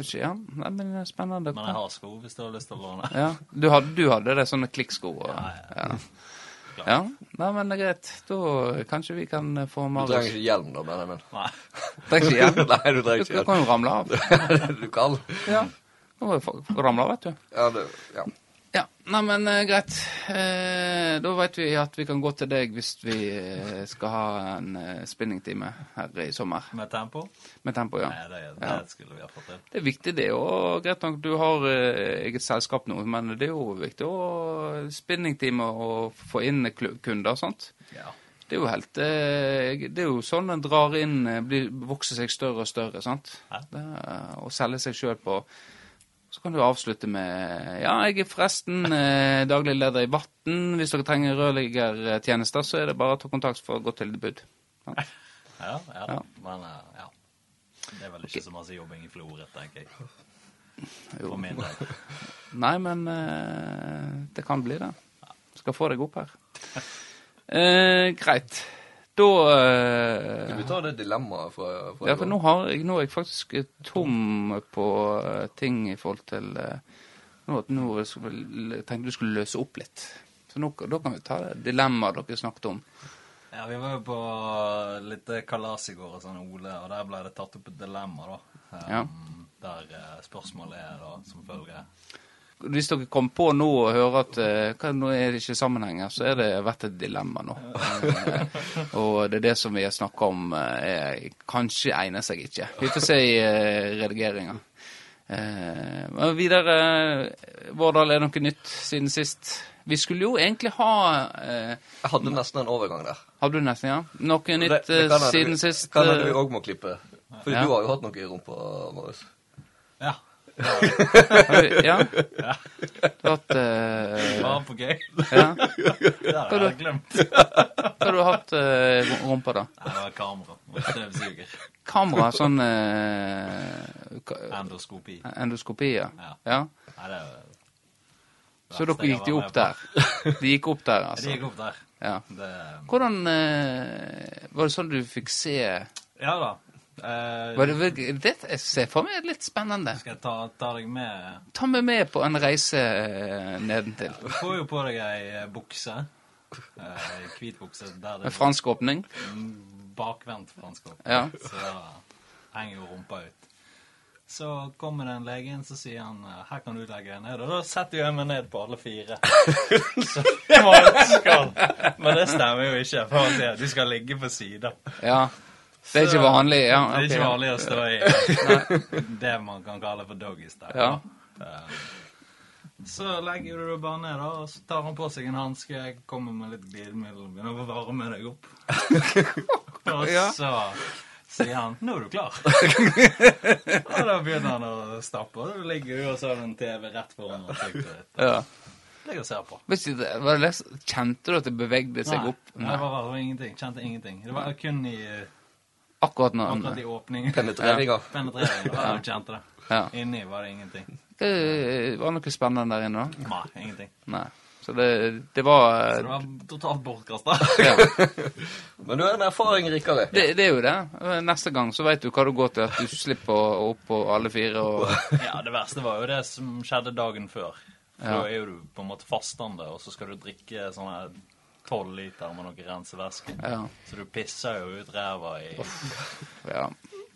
Kanskje, ja. Nei, men det er spennende.
Men jeg har sko hvis du har lyst til å låne.
Ja, du hadde, du hadde det, sånne klikksko og
Ja,
ja. ja. Nei, men det er greit. Da kanskje vi kan eh, få
Du trenger
Marius
ikke hjelm, da, mener jeg. men.
Nei.
Trenger ikke hjelm.
Nei, du trenger
Du
ikke
du kan jo ramle av.
hjelm. du kan.
Ja. Du kan jo fa- ramle av, vet du.
Ja, det, ja.
Ja, nei, men eh, greit. Eh, da veit vi at vi kan gå til deg hvis vi eh, skal ha en eh, spinningtime her i sommer.
Med tempo?
Med tempo, ja.
Nei, det, det
Ja.
skulle vi ha fått til.
Det er viktig, det. Og greit nok, du har eh, eget selskap nå, men det er jo viktig å spinningtime og få inn kl- kunder, sant?
Ja.
Det er jo helt eh, Det er jo sånn en drar inn eh, blir, Vokser seg større og større, sant?
Ja.
Det er, og selger seg sjøl på Så kan du avslutte med Ja, jeg er forresten eh, daglig leder i Vatn. Hvis dere trenger rørleggertjenester, så er det bare å ta kontakt for å gå til tilbud. Sant?
Ja, ja,
Ja.
da. Men eh, ja. Det er vel ikke så masse jobbing i Florø, tenker jeg.
Jo.
For min del.
Nei, men eh, det kan bli det. skal få deg opp her. Eh, greit. Da eh,
Du tar det dilemmaet fra, fra
Ja, for nå, har jeg, nå er jeg faktisk eh, tom på eh, ting i forhold til eh, nå, at nå skulle vi- jeg tenkte du skulle løse opp litt. Så nå, da kan vi ta det dilemmaet dere snakket om.
Ja, vi var jo på litt kalas i går og sånn, Ole, og der ble det tatt opp et dilemma, da. Um,
Ja.
Der eh, spørsmålet er da som følger.
Hvis dere kommer på nå og hører at eh, hva, nå er det ikke sammenhenger, så er det vært et dilemma nå. Eh, og det er det som vi har snakka om, eh, er, kanskje egner seg ikke. Vi får se i eh, redigeringa. Eh, men videre, eh, Vårdal, er det noe nytt siden sist? Vi skulle jo egentlig ha eh,
Jeg hadde nesten en overgang der.
Har du nesten, ja? Noe
Det-
nytt
det
eh,
kan hende
siden
vi-
sist?
Kan hende
eh,
vi òg må klippe. Fordi
ja.
du har jo hatt noe i rumpa, Marius.
Ja.
har du- Ja? Du har hatt eh,
Bare på gøy.
ja.
Det har jeg glemt. Nei,
Hva har du hatt eh, rumpa, da?
det var kamera og støvsuger.
Kamera, sånn eh, ka-
Endoskopi.
Endoskopier.
Ja.
Ja.
Nei, det er
Så dere gikk de opp der. De gikk opp der,
Det
altså.
gikk opp der.
Ja.
Det,
Hvordan eh, Var det sånn du fikk se
ja da. Eh,
var det, virke- det jeg ser for meg er litt spennende.
skal jeg ta, ta deg med
Ta meg med på en reise eh, nedentil.
Du får jo på deg ei eh, bukse. Eh, ei hvit bukse der det
Med fransk åpning.
Mm, bakvendt fransk hopp.
Ja.
Så da henger jo rumpa ut. Så kommer det en lege inn, så sier han eh, 'Her kan du legge deg ned.' Og da setter jo jeg meg ned på alle fire. Så, skal. Men det stemmer jo ikke. For han sier, du skal ligge på siden.
Ja. Det er ikke vanlig. Ja,
Det er
ok,
ikke
ja.
vanlig å stå i det man kan kalle for doggystyle.
Ja.
Eh, Så legger du deg bare ned, da, og så tar han på seg en hanske, kommer med litt glidemiddel, begynner å varme deg opp. Og
Ja.
så sier han 'Nå er du klar'. og da begynner han å stappe, og da ligger du og så har du en TV rett foran ansiktet ditt.
Ja.
Ligger og ser på.
Hvis ikke det- var det les- Kjente du at det bevegde seg opp?
Nei, det var, det var ingenting. Kjente ingenting. Det var kun i,
Akkurat nå?
akkurat i åpningen.
Penetreringa.
Penetreringen. da var det du kjente det.
eh, Ja.
Inni var det ingenting.
Eh, Var det noe spennende der inne, da?
Nei, ingenting.
Nei. Så det, det var eh,
Så det var totalt bortkasta.
ja.
Men du er en erfaring rikere.
det, det er jo det. Neste gang så veit du hva du går til, at du slipper å- opp på alle fire og
ja, det verste var jo det som skjedde dagen før. For
Ja.
Da er jo du på en måte fastende, og så skal du drikke sånne tolv liter med noe rensevæske.
Ja.
Så du pisser jo ut ræva i
ja.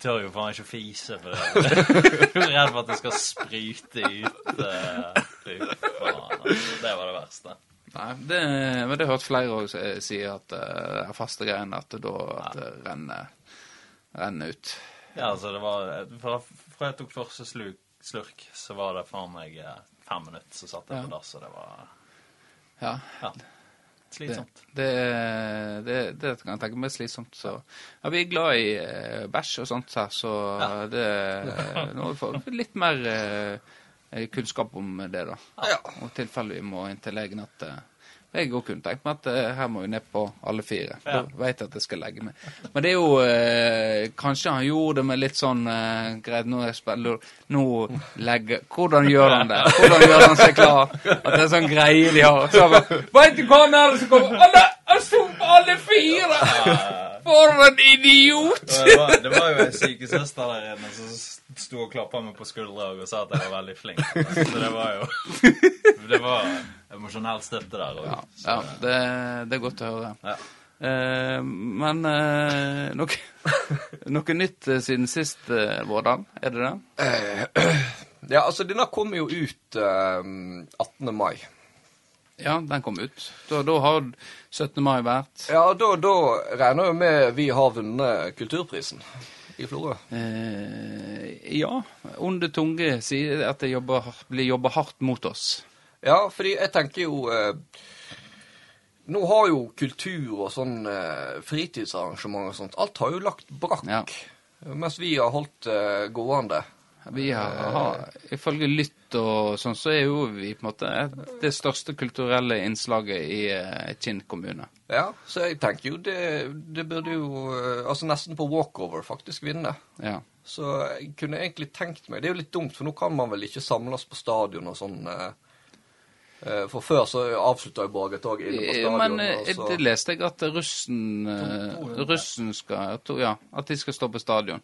Tør jo faen ikke å fise, for det. du er redd for at det skal spryte ut. eh, fy faen, altså. Det var det verste.
Nei, det, men det har jeg hørt flere òg si, at eh, det er faste greiene at det da at det renner, renner ut.
Ja, altså, det var Fra, fra jeg tok første sluk, slurk, så var det faen meg eh, fem minutter, så satt jeg på dass, og det var
Ja.
Ja.
Det,
Slitsomt.
det, det, det kan jeg tenke meg er slitsomt. Så. Ja, vi er glad i eh, bæsj og sånt her, så det Nå får vi litt mer eh, kunnskap om det, da.
Ja.
Og i tilfelle vi må inn til legen at eh, Jeg òg kunne tenkt meg at eh, her må vi ned på alle fire.
Ja.
Da veit jeg at jeg skal legge meg. Men det er jo eh, Kanskje han gjorde det med litt sånn eh, Greit, nå er jeg spiller, Nå legger Hvordan gjør han det? Hvordan gjør han seg klar? At det er sånn greie de har. Så han bare, Veit du hva han er som kommer? Han er han sto på alle fire! For en idiot!
Og Det var, det var jo ei sykesøster der inne som s- sto og klappa meg på skuldra og sa at jeg var veldig flink. Så det var jo Det var emosjonell støtte der òg.
Ja, det, det er godt å høre.
Ja.
Eh, men eh, noe, noe nytt eh, siden sist, eh, Vårdal? Er det det?
ja, altså, denne kommer jo ut eh, 18. mai.
Ja, den kom ut. Da, da har 17. mai vært.
Ja, da, da regner jeg med vi har vunnet Kulturprisen i Florø.
Eh, ja. Onde tunge sier at det jobber, har- blir jobba hardt mot oss.
Ja, fordi jeg tenker jo eh, Nå har jo kultur og sånn eh, fritidsarrangement og sånt Alt har jo lagt brakk.
Ja.
Mens vi har holdt eh, gående.
Vi har, har, ifølge Lytt og sånn, så er jo vi på en måte et- det største kulturelle innslaget i eh, Kinn kommune.
Ja, så jeg tenker jo det, det burde jo eh, Altså nesten på walkover faktisk vinne.
Ja.
Så jeg kunne egentlig tenkt meg Det er jo litt dumt, for nå kan man vel ikke samles på stadion og sånn eh, Eh, For før så avslutta jo Brage Tog inne på
Ja,
stadion. altså.
Men
og
eh,
så-
det leste jeg at russen, eh, russen skal to, Ja, at de skal stå på stadion.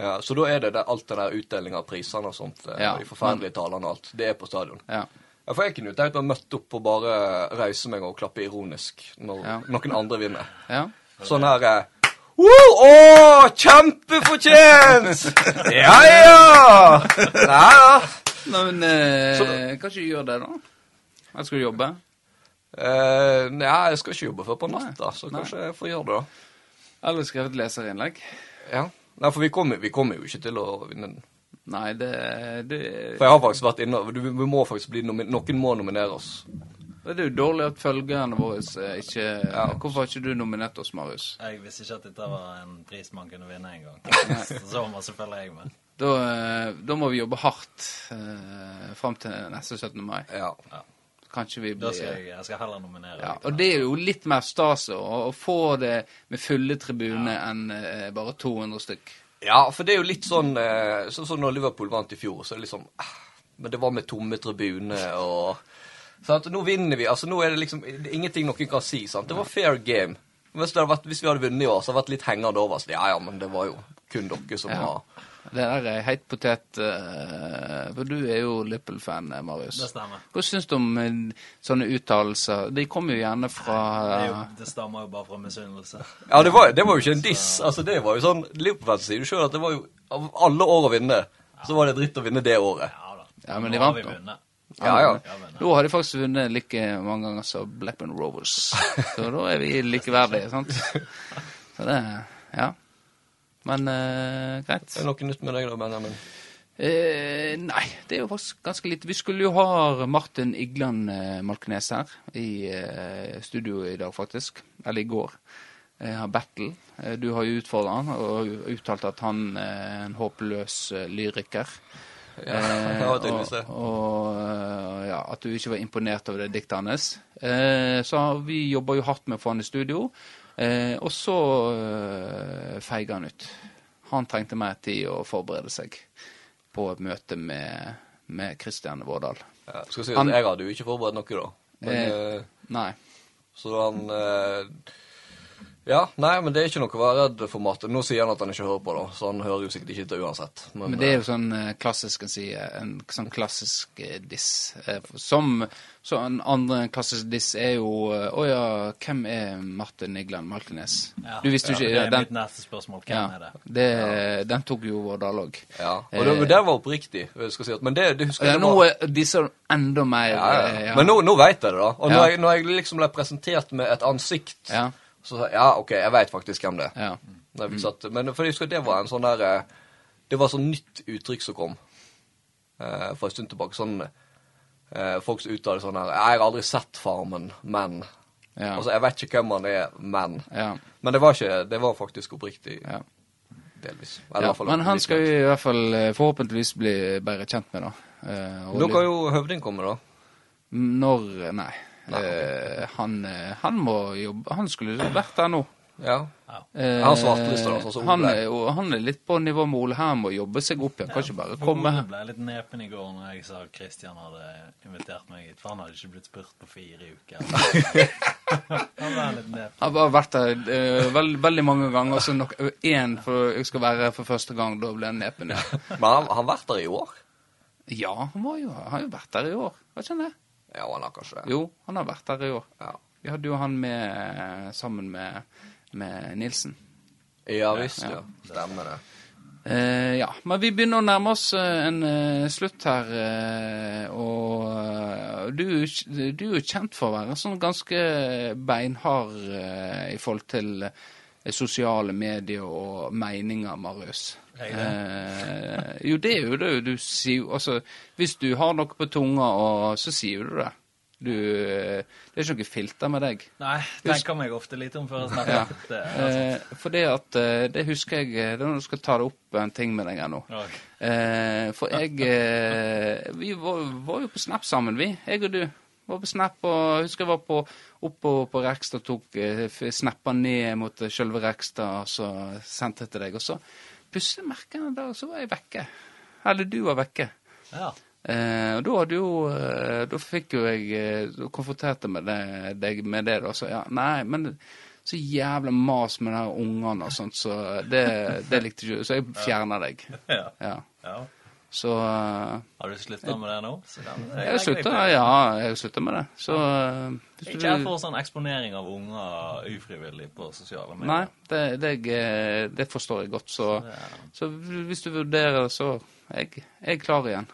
Ja, så da er det, det alt det der utdeling av prisene og sånt, eh,
Ja,
og de forferdelige talene og alt, det er på stadion.
Ja.
Ja, for jeg kunne jo tenkt meg å møtte opp og bare reise meg og klappe ironisk når
Ja.
noen andre vinner.
ja.
Sånn her eh, Woo! Å, kjempefortjent! Ja, ja! Nei da.
Nei, men eh, kan ikke du gjøre det, da? Jeg skal jobbe.
Eh, nei, jeg skal ikke jobbe før på natta, så
Nei.
kanskje jeg får gjøre det, da.
Eller skrevet leserinnlegg.
Ja. Nei, for vi kommer, vi kommer jo ikke til å vinne den.
Nei, det, det,
For jeg har faktisk vært inne du- Vi må faktisk bli nomi Noen må nominere oss.
det er jo dårlig at følgerne våre eh, ikke
Ja.
Hvorfor har ikke du nominert oss, Marius?
Jeg visste ikke at dette var en pris man kunne vinne en gang. Så så masse følger jeg med.
Da, eh, da må vi jobbe hardt eh, fram til neste 17. mai.
Ja.
Kanskje vi
Da skal
blir
jeg, jeg skal heller nominere.
ja,
deg til
Og det er jo litt mer stas å, å få det med fulle tribuner enn eh, bare 200 stykk.
Ja, for det er jo litt sånn eh, Sånn som når Liverpool vant i fjor, så er det liksom eh, Men det var med tomme tribuner og sant? Nå vinner vi. Altså, nå er det liksom det er ingenting noen kan si. sant? Det var fair game. Hvis, det hadde vært, hvis vi hadde vunnet i år, så hadde det vært litt hengende over oss. Ja, ja, men det var jo kun dere som
Ja.
var
Det der er heit potet eh, For du er jo Lippel-fan, eh, Marius.
Det stemmer.
Hva syns du om eh, sånne uttalelser? De kommer jo gjerne fra eh,
Det, er jo, det stammer jo bare fra misunnelse.
Ja, det var, det var jo ikke en diss. Altså, det var jo sånn Liverpool sier jo sjøl at det var jo Av alle år å vinne, så var det dritt å vinne det året.
Ja da.
Ja, men
Nå
de vant
har vi
da.
vunnet.
Ja, ja.
Ja, men,
Da har de faktisk vunnet like mange ganger som Blackburn Rovers. Så da er vi likeverdige, sant? Så det Ja. Men eh, greit.
Er det noe nytt med deg da, Benjamin?
Eh, nei, det er jo faktisk ganske lite. Vi skulle jo ha Martin Igland eh, Malkenes her i eh, studio i dag, faktisk. Eller i går. Eh, han Battle. Eh, du har jo utfordra han og uttalt at han er en håpløs eh, lyriker. Eh,
ja, tydeligvis det.
Og, og eh, ja, at du ikke var imponert over det diktet hans. Eh, så har- vi jobber jo hardt med å få han i studio, eh, og så eh, feiger han ut. Han trengte mer tid å forberede seg på et møte med, med Kristian Vårdal.
Ja, skal si
Han-
at jeg hadde jo ikke forberedt noe da. Men,
Eh.
eh,
Nei.
Så han eh, Ja, nei, men det er ikke noe å være redd for, Martin. Nå sier han at han ikke hører på, da, så han hører jo sikkert ikke etter uansett. Men,
Men det er jo sånn eh, klassisk, kan jeg si, eh, en sånn klassisk eh, diss. Eh, Som så en andre klassisk diss er jo eh, Å ja, hvem er Martin Nigland Malkenes?
Ja.
Du visste jo ikke
Det er
den,
mitt neste spørsmål. Hvem
ja,
er det?
det, den tok jo Vårdal òg.
ja. Og det,
Eh,
det var oppriktig, eh, skal jeg si. At, men det, det husker
Ja,
jeg det
nå
var-
eh, disser du enda mer.
ja, ja.
eh, ja.
Men nå, nå veit jeg det, da. Og
Ja.
når, jeg, når jeg liksom ble presentert med et ansikt,
Ja.
så sa jeg ja, OK, jeg veit faktisk hvem det er.
Ja.
Når vi satt, men for jeg husker det var en sånn der eh, Det var sånn nytt uttrykk som kom eh, for en stund tilbake. Sånn eh, Folk som uttaler sånn her Jeg har aldri sett Farmen, men
Ja.
Altså, jeg vet ikke hvem han er, men
Ja.
Men det var ikke Det var faktisk oppriktig,
Ja.
delvis. Eller i
Ja,
hvert fall
men han
litt
skal
langt.
jo i hvert fall eh, forhåpentligvis bli bedre kjent med, da. Eh, og
Nå
litt-
kan jo Høvding komme, da.
Når Nei.
Nei, ok.
Eh, han, eh, han må jobbe Han skulle vært der nå.
Ja.
Eh,
Han svartelista, da, sånn som Ole
han,
ble.
er jo- han er litt på nivå med Ole her, må jobbe seg opp igjen. Kan ikke bare komme
Jeg
her.
ble litt nepen i går når jeg sa at Kristian hadde invitert meg hit, for han hadde ikke blitt spurt på fire uker. han ble litt nepen.
Han har vært der eh, veld, veldig mange ganger, så nok én for jeg skal være her for første gang. Da blir han nepen. Ja.
Men han har vært der i år?
ja, han var jo, han har jo vært der i år. Har ikke han det?
Ja, han har kanskje det.
Jo, han har vært der i år.
Ja.
Vi hadde jo han med eh, sammen med, med Nilsen.
ja visst, ja. Stemmer det.
Eh, ja, men vi begynner å nærme oss eh, en eh, slutt her. eh, og eh, du, er jo kj- du er jo kjent for å være sånn ganske beinhard eh, i forhold til eh, sosiale medier og meninger, Marius.
Er jeg
Eh, jo, det er jo det. Du sier jo Altså, hvis du har noe på tunga, og, så sier du det. Du, eh, det er ikke noe filter med deg.
Nei, tenker meg ofte litt om før jeg snakker.
Ja.
Det,
Eh, for det at eh, Det husker jeg eh, Det er når du skal ta det opp en ting med deg her nå.
Ok.
Eh, for jeg eh, Vi var, var jo på Snap sammen, vi. Jeg og du. Var på Snap og jeg husker jeg var på, oppå på Rekstad og tok eh, f- snappa ned mot sjølve Rekstad og så sendte jeg til deg. Og så plutselig merker jeg en dag så var jeg vekke. Eller du var vekke.
altså. ja.
Eh, og da hadde jo eh, Da fikk jo jeg eh, Da konfronterte jeg med det- deg med det, da. Så ja, nei, men så jævla mas med de her ungene og sånt, så det, det likte ikke du. Så jeg fjerner deg.
Ja.
Ja.
ja.
Så eh,
Har du slutta med det nå? Så da-
jeg slutta, ja, jeg slutta med det. Så eh, hvis
Ikke jeg får sånn eksponering av unger ufrivillig på sosiale medier.
Nei, det, det, jeg, eh, det forstår jeg godt. Så,
Det er-
så hvis du vurderer det, så jeg, jeg er klar igjen.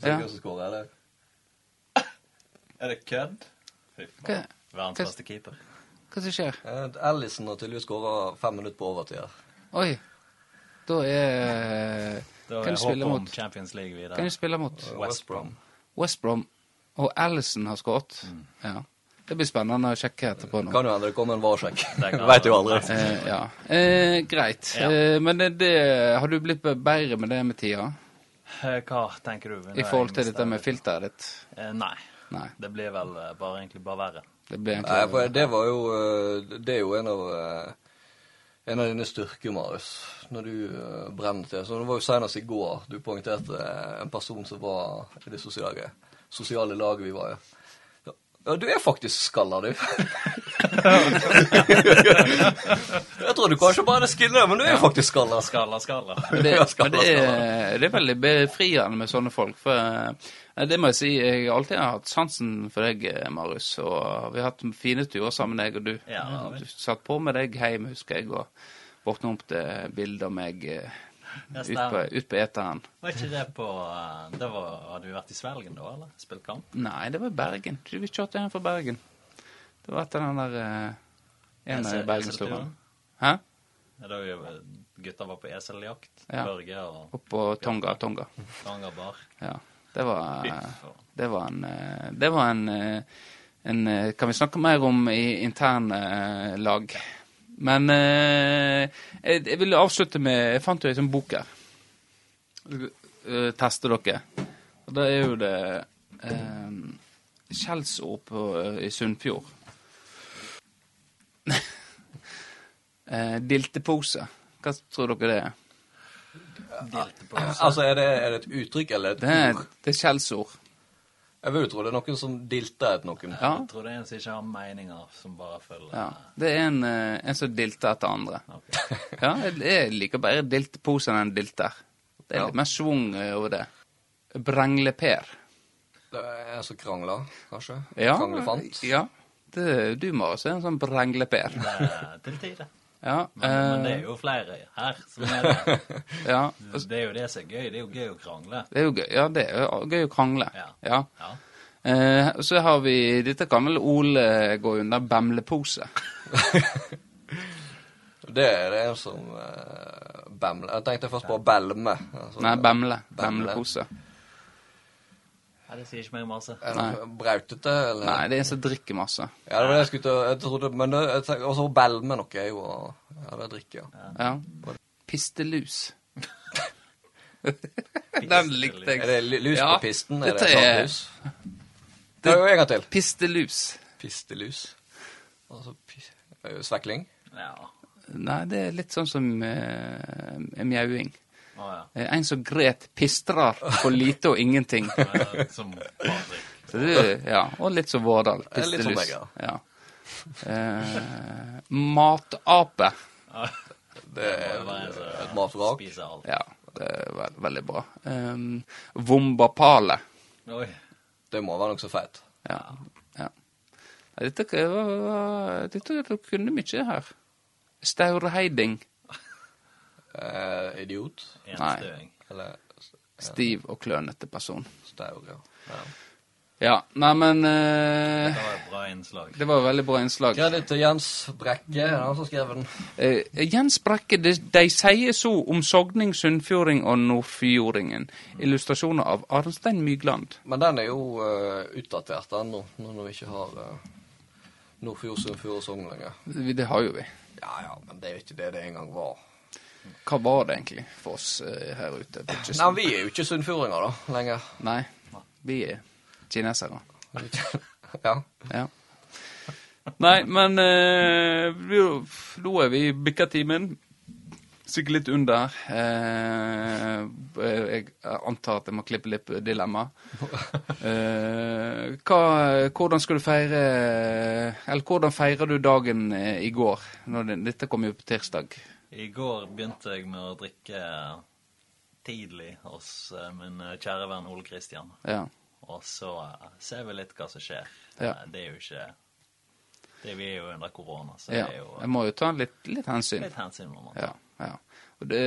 Ja.
Sikkert så skårer jeg det.
Er det kødd? Fy
Hva,
faen. Verdens
Hva-
beste keeper.
hva som skjer?
Eh, Allison har tydeligvis skåra fem minutter på overtid her.
Oi. Da er
Da
Kan
er
du spille
håpet om
mot
Champions League
Kan
videre.
du spille mot
West Brom.
West Brom? Og Allison har skåret.
Mm.
Ja. Det blir spennende å sjekke etterpå nå.
Kan jo hende det kommer en varsjekk.
Det kan
Veit jo
være.
aldri.
Eh, ja. eh, greit.
Ja.
Eh, men det, det, har du blitt bedre med det med tida?
Eh, Hva tenker du? Nå
I
er
forhold
jeg
til
mistet-
dette med filteret ditt?
Eh, Nei.
Nei.
Det blir vel eh, bare, egentlig bare verre.
Det blir
Nei, for
egentlig
det var jo eh, Det er jo en av eh, En av dine styrker, Marius, når du eh, brenner til. Så Det var jo senest i går du poengterte eh, en person som var i det sosiale, sosiale laget vi var i. Ja, Ja, du er faktisk skalla, du. jeg trodde kanskje bare det skinnet, men du er faktisk skalla.
Skala, skala.
Men det,
Ja, skal
men det,
være, skal
er, det er veldig befriende med sånne folk. For eh, det må jeg si, jeg har alltid hatt sansen for deg, eh, Marius. Og vi har hatt fine turer sammen, jeg og du.
Ja, det har vi.
du satt på med deg hjem, husker jeg, og våkna opp til bilde av meg eh,
Det
ut på,
stemmer.
ut på eteren.
Var ikke det på eh, Det var, Hadde vi vært i Svelgen da, eller? Spilt kamp?
Nei, det var i Bergen. Du, Vi kjørte hjem fra Bergen. Det var etter den der eh, en av
ESL
bergensturen.
turen.
Hæ?
Ja, Da vi var- gutta var på eseljakt.
Ja.
Børge og
Opp på Tonga. Tonga.
Tanger bar.
Ja. Det var
Fy
eh,
faen.
Det var en eh, Det var en, eh, en eh, Kan vi snakke mer om i interne eh, lag? Men eh, jeg, jeg ville avslutte med Jeg fant jo ei sånn bok her. Eh, Teste dere. Og da er jo det eh, skjellsord på, i Sunnfjord. eh, diltepose. Hva tror dere det er?
Delte på
Altså, er det, er det et uttrykk eller
Det
et
er,
ord?
det er skjellsord.
Jeg vil jo tro det er noen som dilter etter noen.
Ja.
Jeg tror det er en som ikke har meninger, som bare følger
Ja, det er en, eh, en som dilter etter andre.
Ok.
Ja, jeg, jeg liker bedre dilteposen enn dilter. Det er
Ja.
litt mer schwung eh, over det. Brengleper.
Det er en som krangler, kanskje?
Ja,
Kranglefant?
ja. Det, du, Marius, er en sånn brengleper.
Eh, Til tide.
Ja, eh,
Men, men det er jo flere her som er det.
ja, og s-
Det er jo det som er gøy. Det er jo gøy å krangle.
det er jo gøy. Ja, det er jo gøy å krangle.
Ja.
Ja.
Ja.
Eh, og så har vi Dette kan vel Ole gå under bemlepose.
Det er det en som uh, bamler. Jeg tenkte først på belme. Altså,
Nei, bemle.
Bemle.
Bemlepose.
Nei, det sier ikke meg masse.
Er det Brautete, eller?
Nei, det er en som drikker masse.
Ja, det var det jeg skulle til å Jeg trodde Men det- jeg tenker, også belme noe er jo å- Ja, det er drikke, ja.
Ja. Pistelus. Den likte
Er
jeg.
det lu- lus
Ja,
på pisten? Er
dette
det
er-
klart lus? Det er jo en gang til.
Pistelus.
Pistelus. Altså pis... eh, Svekling?
Ja.
Nei, det er litt sånn som eh, mjauing.
Å ja.
Eh, en som gret pistrar for lite og ingenting.
Eh, Som Patrick.
Så det, ja, Og litt som Vårdal.
Det er litt som
Pistelus.
meg,
Ja. Eh, matape.
Det er et matvrak.
Spiser alt.
Ja, det er ve veldig bra. Um, vombapale.
Oi.
Det må være nokså feit.
Ja. ja. Nei, Dette, k- var- var- dette dere kunne mye her. Staurheiding.
Eh, idiot.
Enstøing.
Eller
Stiv og klønete person.
staur, ja. ja.
Ja, neimen uh,
Det var et bra innslag.
Det var veldig bra innslag.
Kreditt til Jens Brekke, han som skrev den.
Eh, Jens Brekke, de, de sier så om sogning, sunnfjording og nordfjordingen. Illustrasjoner av Arnstein Mygland.
Men den er jo eh, utdatert ennå, nå når vi ikke har uh, Nordfjord, Sunnfjord og Sogn lenger.
Vi- Det har jo vi.
Ja ja, men det er jo ikke det det en gang var.
Hva var det egentlig for oss eh, her ute? på kysten?
Nei, vi er jo ikke sunnfjordinger da, lenger.
Nei, vi er kinesere.
ja.
Ja. Nei, men eh, vi- nå er vi bikka timen. Sikkert litt under. Eh, jeg antar at jeg må klippe litt dilemma. Eh, hva, hvordan skal du feire Eller hvordan feirer du dagen eh, i går? Når det, dette kom jo på tirsdag.
I går begynte jeg med å drikke tidlig hos eh, min kjære venn Ole Kristian.
Ja.
Og så eh, ser vi litt hva som skjer.
Ja.
Eh, Det er jo ikke det, Vi er jo under korona, så
ja.
det er jo
Jeg må jo ta litt, litt hensyn.
litt hensyn må man ta.
Ja, ja. Og det,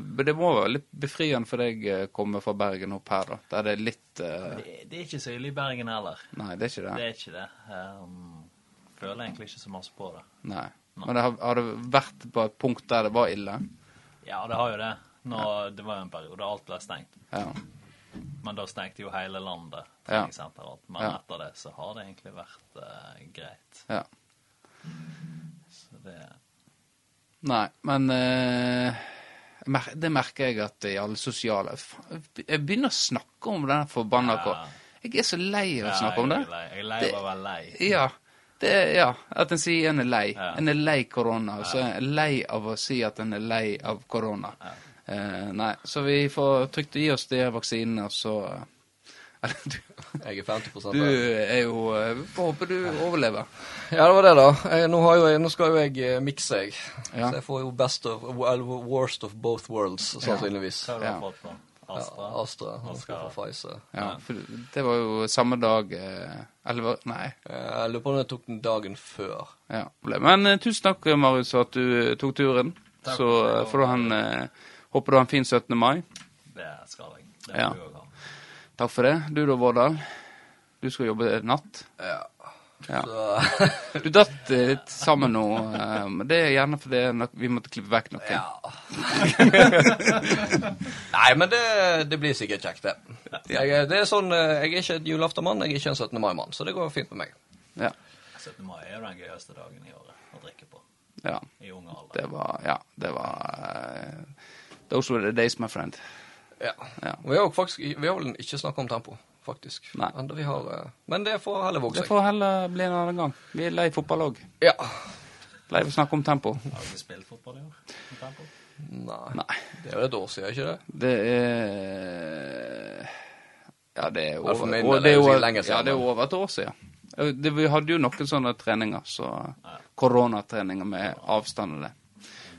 men det må være litt befriende for deg å komme fra Bergen opp her, da. Der det er litt eh,
Det, det er ikke så ille i Bergen heller.
Nei, det er ikke det.
Det er ikke det. Um, føler egentlig ikke så masse på det.
Nei. Men det har, har det vært på et punkt der det var ille?
Ja, det har jo det. Nå, det var jo en periode alt ble stengt.
Ja.
Men da stengte jo hele landet.
Ja.
treningssenter og alt. Men
Ja.
etter det så har det egentlig vært eh, greit.
ja.
Så det
Nei, men eh, jeg mer- det merker jeg at i alle sosiale Faen, Jeg begynner å snakke om den forbanna
Ja.
ja. Jeg er så lei av å snakke om
Ja,
det.
Jeg er lei- jeg er lei
Det-
av å være lei.
Ja. Det, ja. At en sier en er lei.
Ja.
En er lei korona. Og så er en lei av å si at en er lei av korona. Eh, nei, så vi får trygt gi oss de her vaksinene, og så eh, du,
Jeg er 50
du
der.
er jo eh, Vi får håpe du overlever.
Ja, det var det, da. Jeg, nå, har jo, jeg- nå skal jo jeg eh, mikse, jeg.
Ja.
Så jeg får jo best of well, Worst of both worlds, sannsynligvis.
Hva har du
Ja.
fått nå? Astra?
Ja, Astra. Nå skal jeg få Pfizer.
Ja, for det var jo samme dag eh, Eller var- nei.
Eh, Jeg lurer på om jeg tok den dagen før.
Ja. Men eh, tusen takk, Marius, for at du eh, tok turen.
Takk
så
for det,
eh,
og-
får du ha en eh, Håper du har en fin 17. mai.
Det skal jeg. Det
Ja.
må du også ha.
Takk for det. Du da, Vårdal. Du skal jobbe natt.
Ja.
Ja.
Så
Du datt eh, litt sammen nå. eh, men det er gjerne fordi nok- vi måtte klippe vekk noe.
Ja. Nei, men det, det blir sikkert kjekt, det. Jeg, er- det er sånn, eh, jeg er ikke en julaftenmann, jeg er ikke en 17. mai-mann, så det går fint med meg.
Ja.
17. mai Altså, er jo den gøyeste dagen i året å drikke på.
ja.
I ung alder.
Det var Ja, det var eh, Those were the days, my friend.
Ja.
Ja.
Og Vi har jo faktisk vi har vel ikke snakka om tempo, faktisk.
Nei.
Enda vi har, eh, men det får heller våge
Det
seg.
får heller bli en annen gang. Vi er lei fotball òg.
Ja.
Lei av å snakke om tempo.
Har du ikke spilt fotball i år? Med tempo?
Nei.
Nei.
Det er jo et år siden, ikke det?
Det er Ja, det er
Ja, for
over,
min
og
del
det er
er det
over,
sikkert lenge siden,
ja, det er
men-
over et år siden. Ja, Det, vi hadde jo noen sånne treninger, så koronatreninger med avstand og det.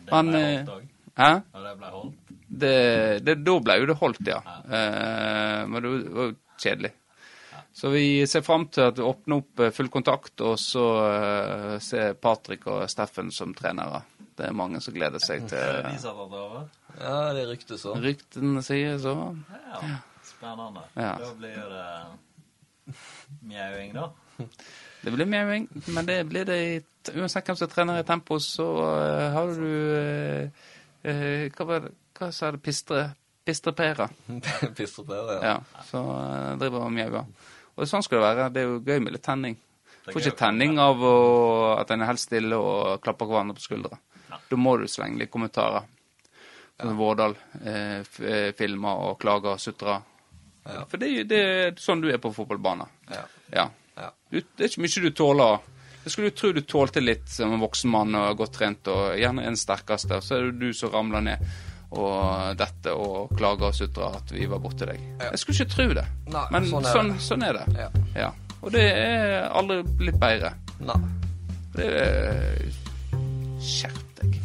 Det
Men,
ble
eh,
holdt òg.
Hæ?
Og det ble holdt.
Det, det, da ble jo det holdt, ja. Eh, men det var jo kjedelig. Så vi ser fram til at vi åpner opp eh, full kontakt, og så eh, ser Patrick og Steffen som trenere. Det er mange som gleder seg
Er det
til
de som har tatt over?
Ja, det ryktes så.
ryktene sier så.
Ja, spennende.
Ja.
Da blir jo det mjauing, da.
Det blir mjauing, men det blir det i, uansett hvem som trener i tempo, så eh, har du eh, eh, Hva var det hva sa det? Pistre, pistrepæra.
Pisser på det, ja.
Ja, så eh, driver og mjauer. Og sånn skal det være. Det er jo gøy med litt tenning.
er
Får
gøy
ikke
å
tenning av å, at en er helt stille og klapper hverandre på skuldra.
Ja.
Da må du slenge litt kommentarer. Sånn som Vårdal eh, f- eh, filmer og klager og sutrer.
Ja.
For det, er jo- det er sånn du er på fotballbanen.
Ja.
Ja.
Ja.
Du, det er ikke mye du tåler. Jeg skulle jo tro du tålte litt som en voksen mann og godt trent og gjerne er den sterkeste, og så er det jo du som ramler ned og dette og klager og sutrer at vi var borti deg.
Ja.
Jeg skulle ikke tro det,
Nei,
men
sånn
sånn
er
sånn,
det.
er det.
Ja.
Ja. Og det er aldri blitt bedre.
Nei.
Det er Skjerp deg.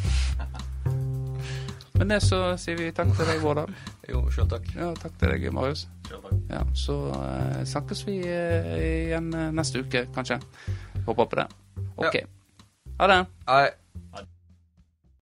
Men det så sier vi takk til deg, Vårdal.
Jo, sjøl takk.
Ja, takk til deg, Marius.
Sjøl takk.
Ja, så eh, snakkes vi eh, igjen eh, neste uke, kanskje. Håper på det. OK. Ha det.
Nei.